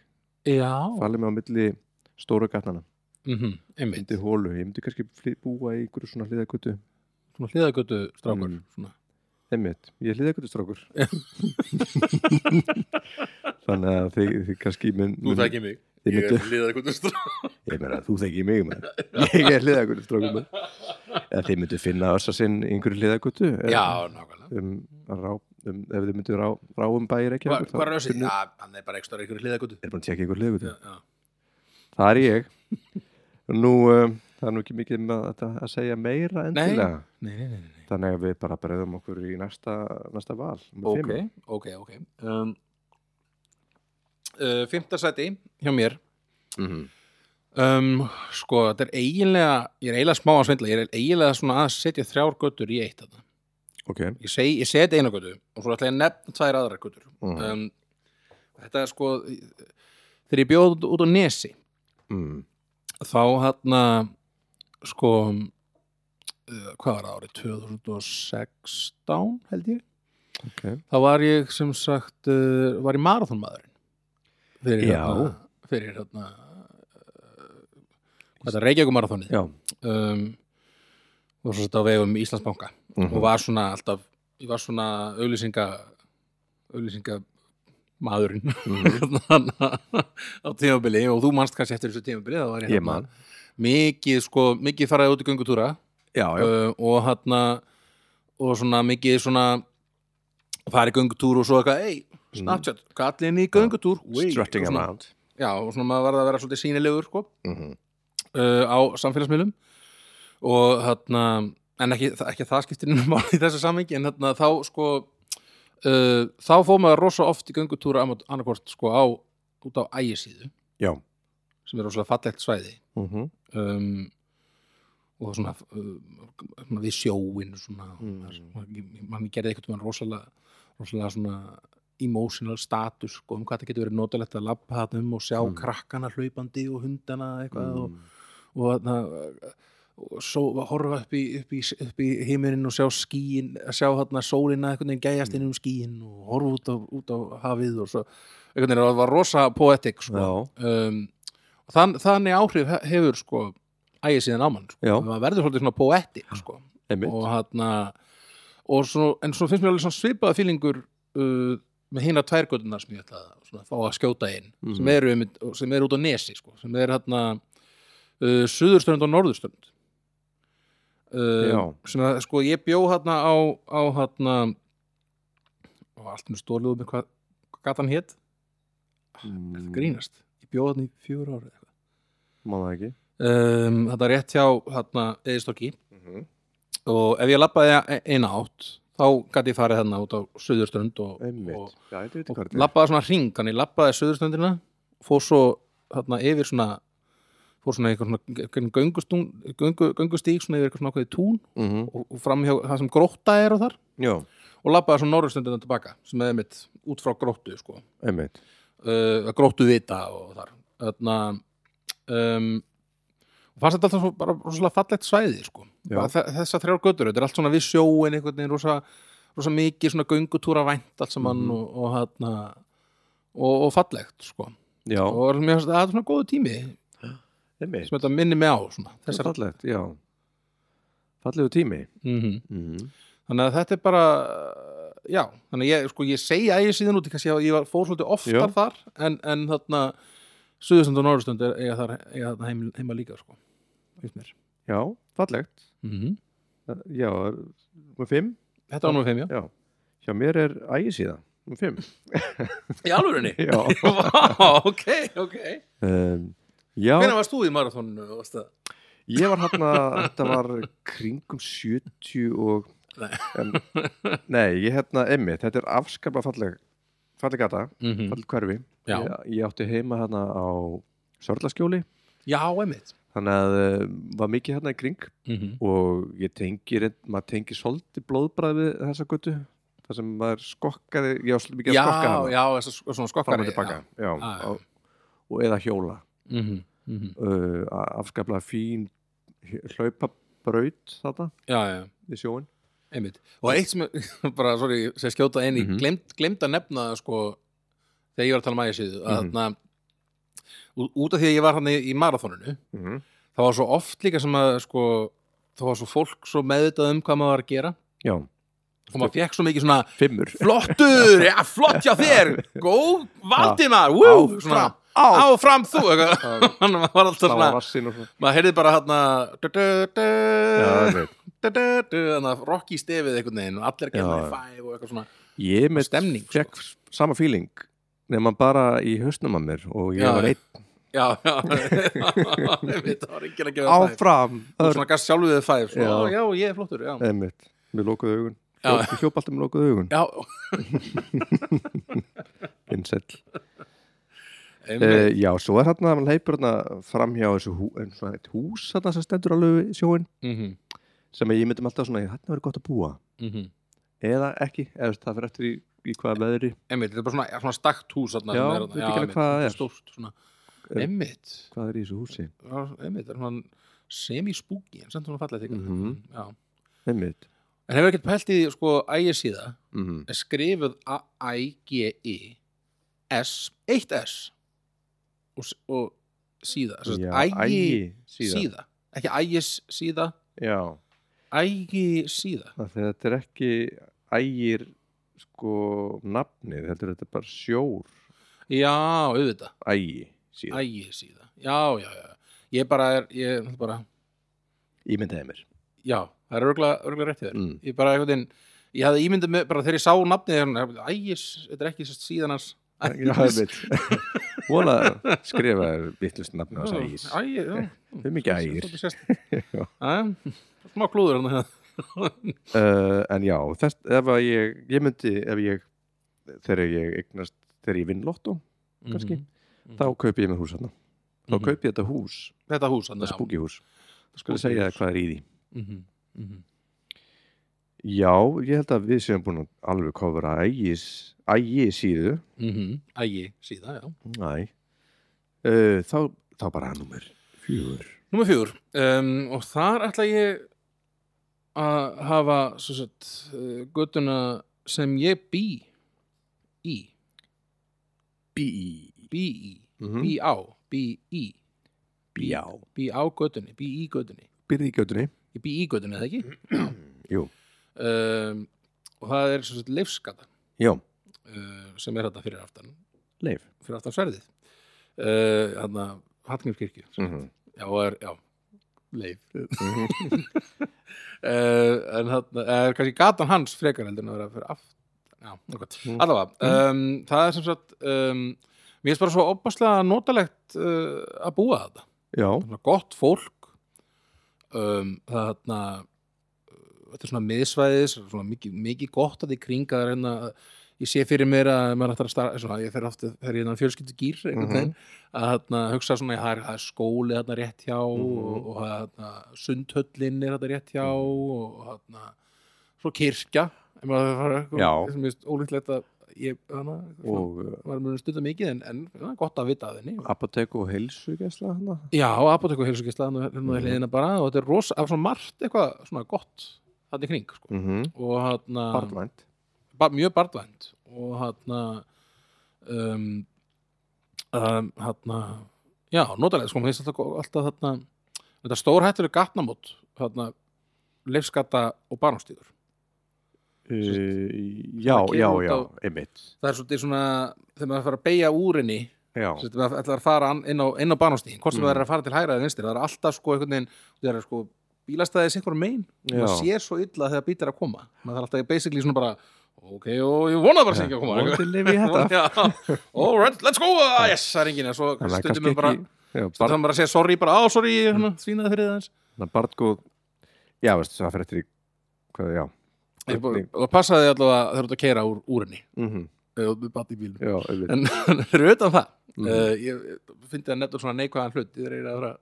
S1: já
S2: falið mig á milli stóru gatnana,
S1: mm einmitt,
S2: myndi hólu, ég myndi kannski fly- búa í einhverju svona hliðagötu,
S1: svona hliðagötu strákur
S2: Mm.
S1: svona.
S2: einmitt, ég er hliðagötu strákur. þannig að þið, þið kannski mun, mun,
S1: mig
S2: þið myndu,
S1: hliðagötu strákur
S2: ég meina, þú þekki mig, maður. ég er hliðagötu strákur, maður. eða þið myndu finna össa sinn í einhverju hliðagötu. eða-
S1: já, nákvæmlega
S2: um, að rá, um, ef þið myndu rá, rá um bæir ekki
S1: Hva- hvað er össið? Já, hann er bara ekki stóra ykkur hliðagötu
S2: er búin að tjekka ykkur legu
S1: já,
S2: til
S1: já.
S2: það er ég nú, um, það er nú ekki mikið með þetta að segja meira endilega
S1: nei, nei, nei, nei, nei.
S2: þannig að við bara bregðum okkur í næsta, næsta val númer
S1: ok,
S2: fimm.
S1: ok, ok um, uh, fymta sæti hjá mér
S2: Mhm.
S1: um, sko, þetta er eiginlega ég er eiginlega smá að svindla, ég er eiginlega svona að setja þrjár götur í eitt þarna
S2: ok
S1: ég, seg, ég set eina götu og svo ætla ég að nefna tvær aðra götur
S2: Mhm.
S1: um, þetta er sko þegar ég bjóð út- út á nesi
S2: mm.
S1: þá hérna sko uh, hvað var það árið 2016 held ég
S2: ok,
S1: þá var ég sem sagt uh, var í marathonmaðurinn fyrir
S2: Já.
S1: hérna fyrir hérna uh, þetta reykjagumarathonið
S2: já
S1: um, og svo þetta á vegum Íslandsbanka
S2: Mhm.
S1: og var svona alltaf ég var svona auðlýsinga auðlýsinga maðurinn
S2: Mhm.
S1: hérna á tímabili og þú manst kannski eftir þessu tímabili þá var ég
S2: Ég
S1: þarna
S2: man.
S1: mikið sko, mikið faraði út í göngutúra
S2: já, já,
S1: uh, og hann og svona mikið svona farið göngutúr og svo eitthvað ei,
S2: Mm.
S1: Snapchat, kallin í göngutúr wey,
S2: strutting
S1: og svona-
S2: amount
S1: já, og svona maður varð að vera svolítið sínilegur sko
S2: Mhm.
S1: uh, á samfélagsmiðlum og þarna en ekki, þa- ekki að það skiptir ennum máli í þessu samhengi en þarna þá sko uh, þá fór maður rosa oft í göngutúra annarkvort sko á út á ægisíðu
S2: já
S1: sem er rosalega fallegt svæði
S2: mm -hmm.
S1: um, og svona, uh, svona við sjóin svona,
S2: Mm.
S1: mm. mann gerði eitthvað rosalega, rosalega svona emotional status sko, um hvað það getur verið notalegt að labba þarna um og sjá krakkana hlaupandi og hundana eitthvað
S2: Mm.
S1: og og þarna og svo að horfa upp í, upp í, upp í heimurinn og sjá skíin að sjá hérna sólina einhvern veginn gæjast inn um skíin og horfa út á, út á hafið og svo einhvern veginn það var rosa poetik sko.
S2: já,
S1: um, og þann, þannig áhrif he- hefur sko ægir síðan á mann sko.
S2: Já.
S1: maður verður svolítið svona poetik sko.
S2: einmitt
S1: og hérna og svo, en svo finnst mér alveg svona svipaða fílingur uh, með hina tværgötunar sem ég ætla að svona, fá að skjóta inn
S2: Mhm.
S1: sem, eru, einmitt- og sem eru út á nesi sko, sem eru hérna uh, suðurstönd og norðurstönd
S2: Já.
S1: uh, sem að sko ég bjó hérna á, á hérna og allt með stóluðum hvað, hvað gat hann hétt,
S2: Mm,
S1: grínast ég bjó hérna í fjögur ára
S2: Má það ekki
S1: um, þetta rétt hjá hérna eðistokki og ef ég lappaði eina átt þá gæti ég farið hérna út á suðurströnd og, og,
S2: Einmitt Já, þetta veit ég hvað
S1: og
S2: þetta er
S1: lappaði svona hring hann ég lappaði suðurströndina fór svo hérna yfir svona fór svona einhver svona göngustún, göngu, göngustík svona yfir eitthvað svona ákveði tún
S2: Mhm.
S1: og, og fram hjá það sem grótta er og þar
S2: Já,
S1: og lappaði svona norðurströndina tilbaka sem er mitt út frá gróttu sko
S2: einmitt
S1: uh, gróttu vita og þar þarna um, og fannst þetta alltaf svo, bara rosalega fallegt svæði sko.
S2: Já.
S1: Bara þe- þessar þrjár götur, þetta er allt svona við sjóin einhvern veginn, rosa, rosa mikið svona göngutúra vænt allt saman
S2: Mhm.
S1: og, og þarna og, og fallegt sko.
S2: Já,
S1: og mér finnst þetta svona góðu tími sem
S2: einmitt
S1: þetta minni mig á svona,
S2: Þessar
S1: þessar,
S2: fallegt, já Fallegu tími
S1: mm
S2: Mhm.
S1: þannig að þetta er bara já, þannig að ég, sko, ég segja að ég síðan út, kannski að ég var fór svolítið oftar
S2: Já.
S1: þar en, en þarna suðustönd og norðustönd er eiga þar eiga þarna heim, heima líka sko, Mhm. finnst mér
S2: Já, fallegt Uh, Já, um fimm
S1: Þetta var nú fimm, já.
S2: Já, hjá mér er ægisíða um fimm
S1: Í alvörinni?
S2: Já,
S1: Vá, ok, ok.
S2: um, já
S1: Hvernig varst þú í uh, marathóninu? og varst það?
S2: Ég var hann að þetta var kringum 70 og
S1: Nei.
S2: en, Nei, ég hérna emmi, þetta er afskaplega falleg falleg gata,
S1: Mhm.
S2: falleg hverfi
S1: Mm. Já.
S2: ég, ég átti heima hérna á Sörlaskjóli,
S1: Já, einmitt.
S2: þannig að uh, var mikið hérna í kring
S1: Mhm.
S2: og ég tengi, reynd- maður tengi svolítið blóðbræð við þessa götu þar sem maður skokkaði, ég var svolítið mikið
S1: Já,
S2: að skokka hana
S1: já, þess að svona skokkar.
S2: fram og tilbaka, já,
S1: Já, Mhm, já.
S2: Og, og eða hjóla
S1: Já,
S2: uh, afskaplega fín hlaupabraut þetta
S1: já, já.
S2: við sjóin
S1: Einmitt. Og eitt sem, bara, sorry, sem skjóta inn í, mm
S2: Mhm.
S1: glemt að nefna, sko, þegar ég var að tala um ægisíðu, að
S2: Mhm.
S1: þarna, ú- út af því að ég var hann í, í marathóninu,
S2: mm
S1: það var svo oft líka sem að, sko, það var svo fólk svo meðvitað um hvað maður var að gera
S2: Já,
S1: og maður fekk svo mikið svona,
S2: fimmur
S1: flottur, já, flott hjá þér, góð,
S2: Á,
S1: Valdimar, wú, svona,
S2: fram, á.
S1: áfram þú, eitthvað, hann var alltaf
S2: Það var
S1: svona,
S2: vassin og svona
S1: maður heyrði bara hérna, du, du, du,
S2: Já, einmitt.
S1: du, du, du, þannig að rocki stefið einhvern veginn og allir að
S2: Já,
S1: gefa
S2: já.
S1: í fæf og eitthvað svona,
S2: Ég með
S1: Stemning, sko.
S2: fekk sama fíling nema bara í hausnum að mér og ég
S1: Já,
S2: var
S1: já.
S2: einn
S1: já, já, einmitt, það var enginn að gefa fæf,
S2: áfram
S1: og svona gaf sjálfuðið fæf,
S2: Já.
S1: svona, já, já, ég er flottur, já,
S2: Einmitt, við lókuðu augun
S1: Já.
S2: Hljóp- Ég hljóp alltaf með lókuðu augun
S1: já,
S2: Vinsæll.
S1: einmitt,
S2: Eh, Já, svo er hérna hann leipur hérna framhjá þessu hú, en svona eitt hús hérna sem stendur alveg við sjóin
S1: mhm,
S2: sem ég myndum alltaf svona, hérna verið gott að búa
S1: mhm,
S2: eða ekki, eða þú veist, það fyrir eftir í, í hvaða veðri
S1: einmitt, þetta er bara svona, já, svona stakt hús, þarna
S2: Já,
S1: sem er
S2: veit
S1: þarna,
S2: ekki alveg
S1: einmitt,
S2: hvað það er. Eh.
S1: stórt, svona,
S2: Er-
S1: einmitt,
S2: hvað er í þessu húsi
S1: Já, einmitt, það er hann semi-spooky en samt svona fallið þykir
S2: Mhm.
S1: Já.
S2: einmitt
S1: en hefur ekkert pælt í því, sko ægisíða
S2: mm -hmm.
S1: er skrifuð A-I-G-I-S eitt E, S og, s- og síða Sem sagt, ægi síða. ekki ægis síða
S2: já,
S1: ægi síða
S2: af því að þetta er ekki ægir sko nafnið, heldur þetta er bara sjór
S1: já, auðvitað,
S2: ægi síðan,
S1: ægi síða já, já, já, ég bara er ég bara,
S2: ímyndaði mér
S1: já, það er örgla, örgla rétt hjá þér
S2: mm.
S1: ég bara einhvern veginn ég hafði ímyndið mig bara þegar ég sá nafnið hérna, ægis, þetta er ekki sérst síðan hans
S2: já, einmitt vona skrifa vittlust nafnið á þessu ægis
S1: Ægir, já.
S2: Þau mikið ægir.
S1: Svolítið sérstakt.
S2: Já.
S1: Jæja, Smá klúður hann
S2: uh, en já, þess, ef að ég ég myndi, ef ég þegar ég eignast, þegar ég vinn lottó Kannski. þá kaupi ég mér hús hérna þá
S1: Mhm.
S2: kaupi ég þetta hús,
S1: Þetta hús hann
S2: það spúki hús skoðu segja þér hvað er í því
S1: Mhm,
S2: Já, ég held að við séum búin að alveg kofra ægis, ægi síðu
S1: Ægi mhm. síða, já
S2: Næ uh, þá, þá bara nummer fjögur
S1: Númer fjögur um, Og þar ætla ég að hafa svo sett, uh, göttuna sem ég bý í
S2: Bí
S1: bý í,
S2: Mhm.
S1: bý á bý í,
S2: Bí á
S1: bý á göttunni bý í göttunni,
S2: Byrði í götunni
S1: ég bý í göttunni, eða ekki?
S2: Jú,
S1: um, og það er sem sagt leifskata
S2: já,
S1: uh, sem er þetta fyrir aftan
S2: Leif
S1: fyrir aftan sverðið uh, hann að Hallgrímskirkju
S2: mm -hmm.
S1: já, og er, já, leif uh, en hann er kannski gatan hans frekar heldur en að vera fyrir aftan já, okkur,
S2: Mm.
S1: allavega um, það er sem sagt um, mér finnst bara svo opaslega notalegt uh, að búa þetta
S2: Já,
S1: svona gott fólk um, það er þarna þetta er svona miðsvæðis svona mikið, mikið gott að því kringa það er hérna ég sé fyrir mér að maður ætlar að starfa svona, ég fer ofta þegar ég er fjölskyldu gýr mm
S2: Mhm.
S1: að þarna, hugsa svona það er, það er skóli þarna rétt hjá
S2: Mhm.
S1: og, og það er þarna, sundhöllin er þarna rétt hjá og þarna svo kirkja ef maður fara
S2: Já.
S1: eitthvað sem er ólíklegt að ég hana, og,
S2: og uh,
S1: maður mjög stunda mikið en, en það er gott að vita að henni
S2: apotek og heilsu gæsla hana
S1: Já, apotek og heilsugisla hérna
S2: Mhm.
S1: er hliðina bara og þetta er rosa, af svona margt eitthvað svona gott þarna í kring sko.
S2: mm -hmm.
S1: og hérna,
S2: Barnvænt
S1: ba mjög barnvænt og hérna um, um hérna já, notalega, sko, mér finnst alltaf, alltaf þarna, þetta stórhættur er gatnamót þarna, leifskata og barnástíður
S2: uh, Já,
S1: kemur
S2: já,
S1: út
S2: já,
S1: á-
S2: einmitt
S1: það er svolítið svona, þegar maður fara að beigja úr henni
S2: Já,
S1: Sett, maður ætlar að fara an- inn á, inn á banostíðin hvort sem
S2: Mm.
S1: það er að fara til hægra eða vinstri það er alltaf sko einhvern veginn það er sko bílastæðið sikkur megin
S2: Já.
S1: maður sér svo illa þegar bítar að koma maður þarf alltaf basically svona bara ok og ég vona bara sem ekki að koma
S2: vonandi lifi ég þetta
S1: Já. all right, let's go Ah, yes, það er enginn en svo
S2: Þannig að
S1: stundum
S2: kannski
S1: við bara
S2: ekki Mm. já,
S1: stundum
S2: barn,
S1: við bara að segja sorry bara á sorry hérna, svínaði fyrir það
S2: þannig að barngóð Já, veistu, það fyrir eftir í hvað, já
S1: eins og passaði allavega þegar þú ert að keira úr úrinni
S2: mm -hmm.
S1: og þú batt í bílum
S2: Já, einmitt
S1: Mhm. en fyrir utan það
S2: Mm.
S1: uh, ég fyndi það nettur svona neikvæðan hlut þegar ég er að fara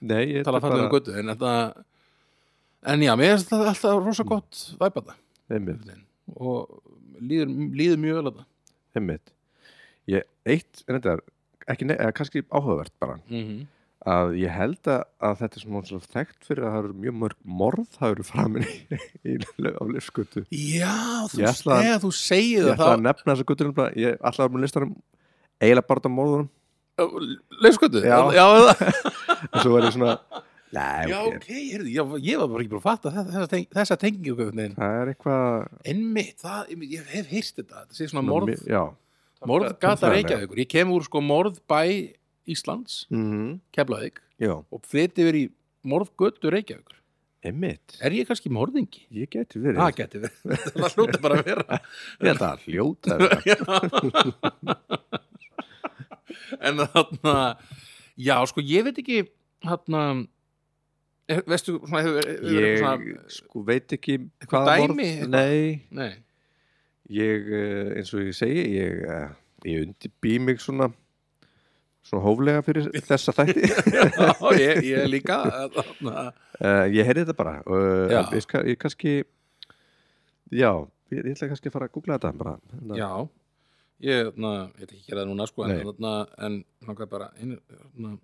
S2: Nei, ég
S1: tala fallið um götu en þetta en já, mér finnst þetta alltaf rosa gott væpa það
S2: Einmitt,
S1: og líður, líður mjög vel að það
S2: einmitt Ég, eitt, reyndar, ekki, nei, eða kannski áhugavert bara
S1: mm -hmm.
S2: að ég held að, að þetta er svona svona þekkt fyrir að það eru mjög mörg morð það eru framin í, í, á lifskutu
S1: Já, þú,
S2: Ég ætla að-
S1: þegar þú
S2: ég
S1: segir það
S2: ætla að
S1: þá,
S2: nefna þessa gutur ég ætla að vera með listanum eiginlega bara út á morðunum
S1: leifskötu
S2: Já.
S1: já, það-
S2: en svo er ég svona Nei,
S1: já,
S2: ok,
S1: ok, heyrðu, já, ég var bara ekki búin að fatta þessa, þessa, teng, þessa tengingu einhvern veginn.
S2: það er eitthvað
S1: einmitt, það, einmitt, ég hef heyrt þetta þetta sé svona
S2: svona
S1: morð,
S2: mi- já
S1: morðgata
S2: Tölfræðilega.
S1: Reykjavíkur ég kem úr sko morðbæ Íslands
S2: mm
S1: Mhm. Keflavík
S2: já,
S1: og flytti yfir í morðgötu Reykjavíkur
S2: einmitt
S1: er ég kannski morðingi?
S2: ég geti verið
S1: Það geti verið, það hljóta bara að vera
S2: ég held að hljóta að vera.
S1: En þarna Já, sko, ég veit ekki Þarna er- Veistu, svona hefur hefur verið
S2: ég
S1: svona,
S2: sko veit ekki
S1: Eitthvað
S2: hvaða
S1: dæmi,
S2: morð
S1: eitthvað?
S2: nei,
S1: Nei,
S2: ég eh, eins og ég segi ég, eh, ég undirbý mig svona svona hóflega fyrir þessa þætti
S1: já, ég, ég líka Þarna
S2: uh, ég heyrði þetta bara og
S1: Já.
S2: uh, ég, ska- ég kannski já, ég, ég ætla kannski að fara að googla þetta bara Hérna.
S1: Já, ég, þarna, ég ætla ekki að gera það núna sko, en
S2: Nei.
S1: þarna, en hann bara inn, þarna,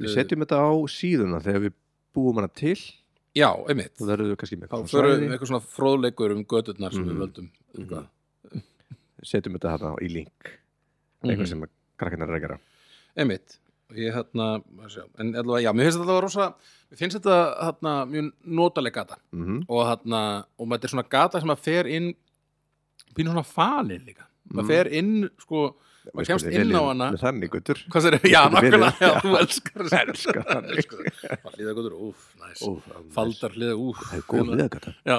S2: við
S1: eh,
S2: setjum þetta á síðuna þegar við búum hana til
S1: Já, einmitt
S2: þá verður við kannski með
S1: Þá
S2: eitthvað
S1: förum við
S2: svæði.
S1: eitthvað svona fróðleikur um göturnar sem við
S2: Mhm.
S1: völdum um hvað.
S2: setjum þetta þarna í link
S1: Mhm.
S2: eitthvað sem að krakkarnar er að gera
S1: einmitt og ég hérna, að sjá, en allavega, já, mér finnst þetta rosa, mér finnst þetta hérna mjög notaleg gata
S2: Mhm.
S1: og hérna, og maður þetta er svona gata sem að fer inn pínu svona falin líka, maður
S2: Mm.
S1: fer inn sko,
S2: Við
S1: kemst
S2: skulum
S1: inn
S2: velja
S1: á hana.
S2: með þannig guttur
S1: hvað sér, já,
S2: Getur verið.
S1: nákvæmlega já, þú elskar þessu.
S2: Elskar þannig.
S1: Elskar þessu. Bara hlýða góður, úf, næs faldar hlýða, úf
S2: það er góð liðagata
S1: já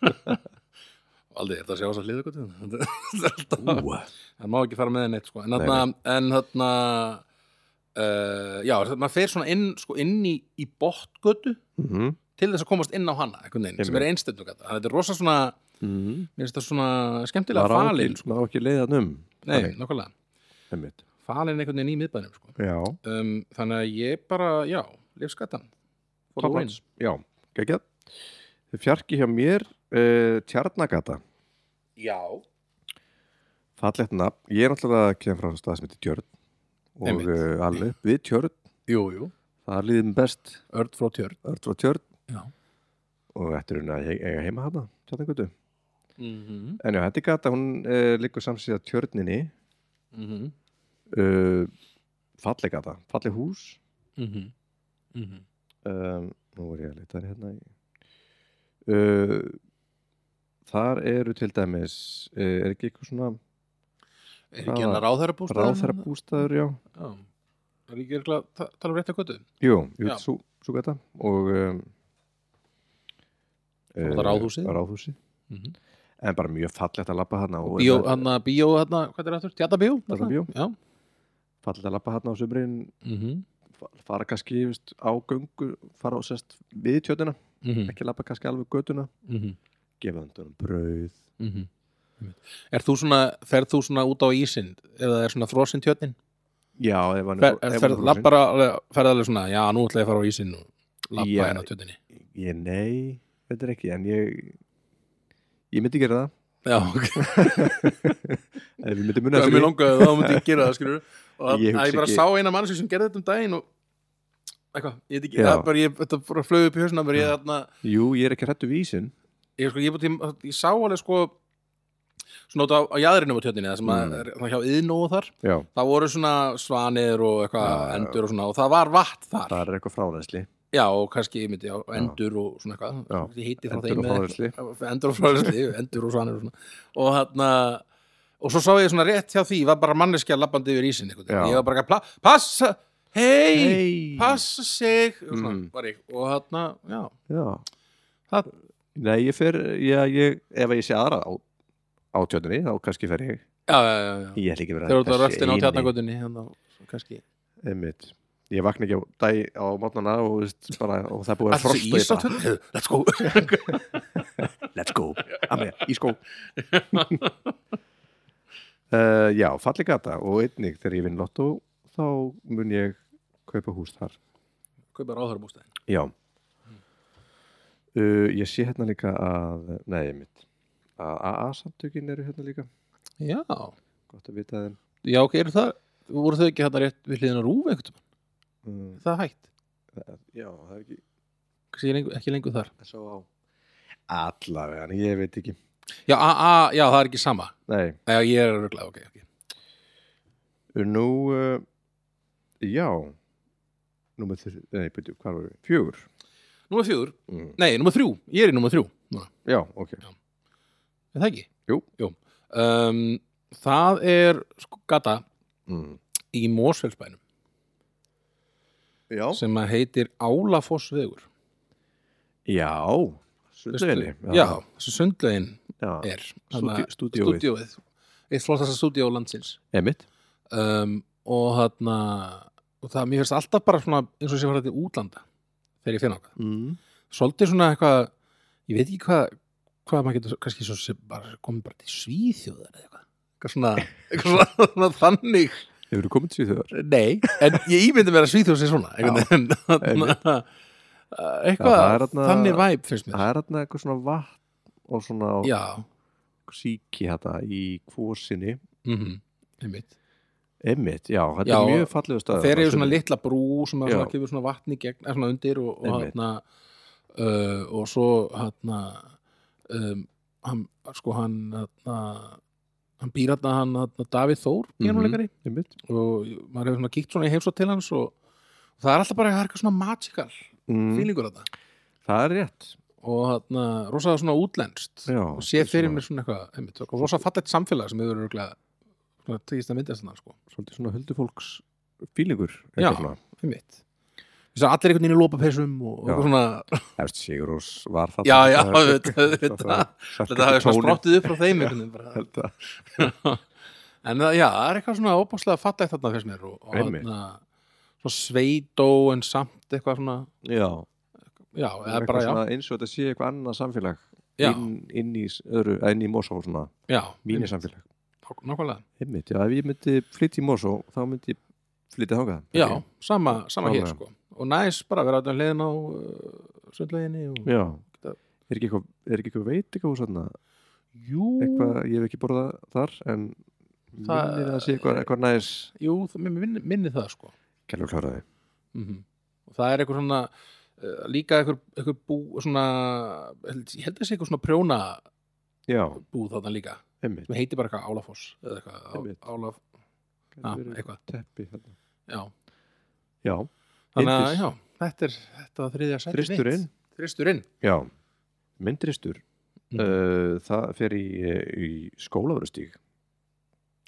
S1: aldrei, er þetta að sjá þess að hlýða góður þetta
S2: Ú,
S1: það má ekki fara með henni eitt sko. en
S2: Nei,
S1: þarna, en þarna uh, já, maður fer svona inn, sko, inn í, í botgötu
S2: mhm.
S1: til þess að komast inn á hana einhvern veginn, sem er einstöndum gata þannig að þetta er rosa svona,
S2: Mhm.
S1: mér finnst það svona skemmtilega
S2: maður á
S1: falin,
S2: ekki- maður á ekki leiðan um
S1: sko. nei, nákvæmlega
S2: einmitt
S1: falin einhvern veginn í miðbænum sko.
S2: já,
S1: um, þannig að ég bara, já, lifskatan For the
S2: Top
S1: win.
S2: ones. já, geggjað fjarki hjá mér uh, Tjarnagata
S1: já,
S2: Fallegt nafn, ég er náttúrulega að kemur frá stað sem heitir Tjörn og
S1: Einmitt.
S2: uh, alveg við Tjörn,
S1: jú, jú
S2: það líðið mér best
S1: Örd frá tjörn
S2: Örn frá Tjörn
S1: Já.
S2: og þetta er hún að ég eiga heima hana Tjarnagötu.
S1: mm -hmm.
S2: En já, þetta er gata, hún uh, liggur samsíða Tjörninni
S1: Mm -hmm.
S2: uh, falleg gata, falleg hús
S1: mhm,
S2: um, nú er ég að leita hérna í Eh, eh, uh, þar eru til dæmis uh, er ekki eitthvað svona
S1: er ekki hérna hann að ráðherra bústæður
S2: ráðherra bústæður, já
S1: er ekki örugglega að ta- tala um rétt að götu
S2: Jú,
S1: Já.
S2: jú, svo, svo geta og um,
S1: Og
S2: eh,
S1: það ráðhúsið.
S2: ráðhúsið.
S1: Mhm.
S2: en bara mjög fallegt að labba þarna og
S1: bíó, eh,
S2: það-
S1: hann að bíó, hann að, hvað er aftur, tjata bíó
S2: Tjarnarbíó.
S1: já
S2: fallegt að labba þarna á sömurinn
S1: Mhm.
S2: fara kannski veist, á göngu fara á sest við tjötuna
S1: Mhm.
S2: ekki labba kannski alveg götuna
S1: Mhm.
S2: gefa hundunum brauð
S1: Mhm. Er þú svona, ferð þú svona út á ísinn eða er svona frosinn tjötnin?
S2: já, ef hann
S1: Fer,
S2: ef
S1: er,
S2: hann
S1: fer,
S2: fór
S1: lappar alveg, ferð alveg svona, já, nú ætla ég að fara á ísinn og lappa
S2: Já.
S1: hérna á tjötninni.
S2: sinn- ég nei, þetta er ekki en ég ég myndi gera það
S1: Já, ok.
S2: ef sko, ég myndi munna
S1: Ef mér langaði þá myndi ég gera það, skilur og að
S2: Ég
S1: ég,
S2: hugsa
S1: ég bara
S2: ekki-
S1: sá eina mannsi sem gerði þetta um daginn og eitthvað, ég veit ekki,
S2: Já.
S1: það bara, ég, þetta bara flög upp í hausna mér, ég þarna,
S2: jú, ég er ekki hrættu vísin
S1: ég sko, ég, ég, ég, ég sá alveg sko svona út á, á jaðrinum á tjötninni, það sem að,
S2: Mm.
S1: er- það hjá yðn og þar,
S2: já,
S1: það voru svona svanir og eitthvað,
S2: Já, já.
S1: endur og svona og það var vatn þar,
S2: það er eitthvað fráðæsli
S1: já, og kannski, ég myndi, já, endur og svona eitthvað,
S2: Já.
S1: ég heiti frá
S2: Endur
S1: þeim
S2: og
S1: eða
S2: frárennsli.
S1: eitthvað. endur og fráðisli, endur og svanir og svona, og þarna og svo sá ég svona rétt hjá því, var bara manneskja labbandi yfir ísinn, einhvern veginn,
S2: Já.
S1: ég var bara ekki að pla- passa, hei,
S2: hei,
S1: passa sig og svona,
S2: Mm.
S1: var ég, og þarna, já
S2: já
S1: það,
S2: Nei, ég fer, já, ég, ef ég sé aðra á, á tjötunni, þá kannski fer ég
S1: já, já, já, já.
S2: Ég ætla ekki að vera
S1: Þegar þú ert að
S2: þessi
S1: röftin á
S2: eini.
S1: tjarnakotunni hérna, kannski
S2: Einmitt. Ég vakna ekki á dag á mótnana og, veist, bara, og það er búið að frosta ég bara,
S1: tjarnakotunni? Let's go
S2: Let's go, Amir, í skó uh, Já, falli gata og einnig þegar ég vinn lottó þá mun ég kaupa hús þar
S1: Kaupa ráðhörum ústæðin
S2: Já uh, Ég sé hérna líka að Nei, einmitt að AA samtökin eru hérna líka
S1: Já,
S2: Gott að vita þeim
S1: já, ok, eru það voru þau ekki hérna rétt við hliðina á rúf einhvern tímann?
S2: um,
S1: Er Það hægt,
S2: Já, það er ekki
S1: kannski lengur, ekki lengur þar
S2: S.O.A. Allavega, ég veit ekki
S1: Já, a, a, já, það er ekki sama
S2: Nei,
S1: Já, ég er röglega, ok, ok
S2: nú uh, Já Númer þurr, nei, byrju, hvað var við? Fjögur
S1: Númer fjúr,
S2: mm.
S1: nei, númer þrjú, ég er í númer þrjú núna,
S2: Já, ok
S1: er það ekki?
S2: Jú.
S1: um, Það er sko, gata
S2: mm.
S1: í Mósfellsbænum
S2: Já,
S1: sem að heitir Álafossvegur
S2: já Sundleginni
S1: Veistu- Já, þessi sundlegin
S2: já.
S1: er þarna-
S2: stúdíóið.
S1: stúdíóið. Eitt flottasta stúdíó landsins
S2: Emmitt
S1: um, og þarna og það mér finnst alltaf bara svona eins og sé farið til útlanda þegar ég finn okkar
S2: mm.
S1: svolítið svona eitthvað ég veit ekki hvað hvað maður getur kannski svo sem bara komið bara til svíþjóðar eða eitthvað eitthvað svona, eitthvað svona, svona þannig
S2: Hefur þú komið til þjóðar?
S1: nei, en ég ímyndi mér að svíþjóð sé svona einhvern veginn. Þarna, eh, eitthvað
S2: Já, það er þarna-
S1: þannig væp finnst mér
S2: Það er hérna eitthvað svona vatn og svona
S1: já,
S2: síki hérna í kvosinni
S1: mhm, einmitt
S2: Emmitt, já, þetta
S1: Já,
S2: er mjög fallegu stað
S1: þeir eru svona litla brú sem að
S2: Já.
S1: svona kemur svona vatni gegn, eða svona undir og, og
S2: Einmitt.
S1: hérna uh, og svo hérna um, hann, sko hann hérna hann býr hérna hann hérna Davíð
S2: Mhm,
S1: Þór píanuleikari
S2: Emmitt
S1: og maður hefur svona kíkt svona í heimsótt til hans og, og það er alltaf bara það er eitthvað svona magical
S2: mm.
S1: feelingur þetta
S2: Það er rétt
S1: og hérna rosa svona útlenskt
S2: Já,
S1: og sé fyrir
S2: svona-
S1: mér svona eitthvað einmitt, og rosa fallegt samfélag sem hefur örgulega svona tegist að myndast þannig sko
S2: svolítið svona huldufólks fílingur
S1: Já. einmitt Þess að allir einhvern veginn í lópapeysum og, og
S2: Já.
S1: eitthvað svona
S2: Eftir Sigur Rós var það
S1: Já, já, auðvitað, auðvitað. Þetta hafi svona sprottið upp frá þeim einhvern veginn bara.
S2: sprott
S1: En það, já, það er eitthvað svona óbáslega fallegt þarna fyrst mér og, og
S2: Einmitt.
S1: þarna svona sveitó en samt eitthvað svona
S2: Já,
S1: Já, eða bara já,
S2: svona, eins og þetta sé eitthvað annað samfélag
S1: já,
S2: inn, inn í s- öðru, eh, inn í Mosó svona,
S1: já
S2: mínu samfélag
S1: Nák- Nákvæmlega,
S2: Einmitt, já, ef ég myndi flytja í Mosó þá myndi ég flytja þangað
S1: já,
S2: Ok.
S1: sama, sama hér
S2: Nákvæmlega.
S1: sko Og næs bara að vera þetta hliðin á uh, sundleginni og...
S2: já. Er ekki eitthvað, er ekki eitthvað veit eitthvað svona,
S1: Jú,
S2: eitthvað, ég hef ekki borðað þar en
S1: Það-
S2: minnir að sé eitthvað, eitthvað næs
S1: jú, það, mér minni, minni það sko
S2: Kjallur kláraði
S1: -hmm. og það er eitthvað svona uh, líka eitthvað, eitthvað bú svona, held- ég held að sé eitthvað svona prjóna
S2: Já,
S1: bú þarna líka
S2: einmitt,
S1: sem heitir bara eitthvað Álafoss eða eitthvað, á,
S2: Einmitt.
S1: Álaf, á,
S2: Gæti verið
S1: eitthvað
S2: teppi þarna.
S1: já.
S2: Ah, Já,
S1: þannig að
S2: Heitis.
S1: já, þetta er þetta var þriðja sæti
S2: Þristurinn.
S1: mitt Þristurinn
S2: Já, myndristur
S1: Mhm.
S2: uh, það fer í, eh, í skólavörustíg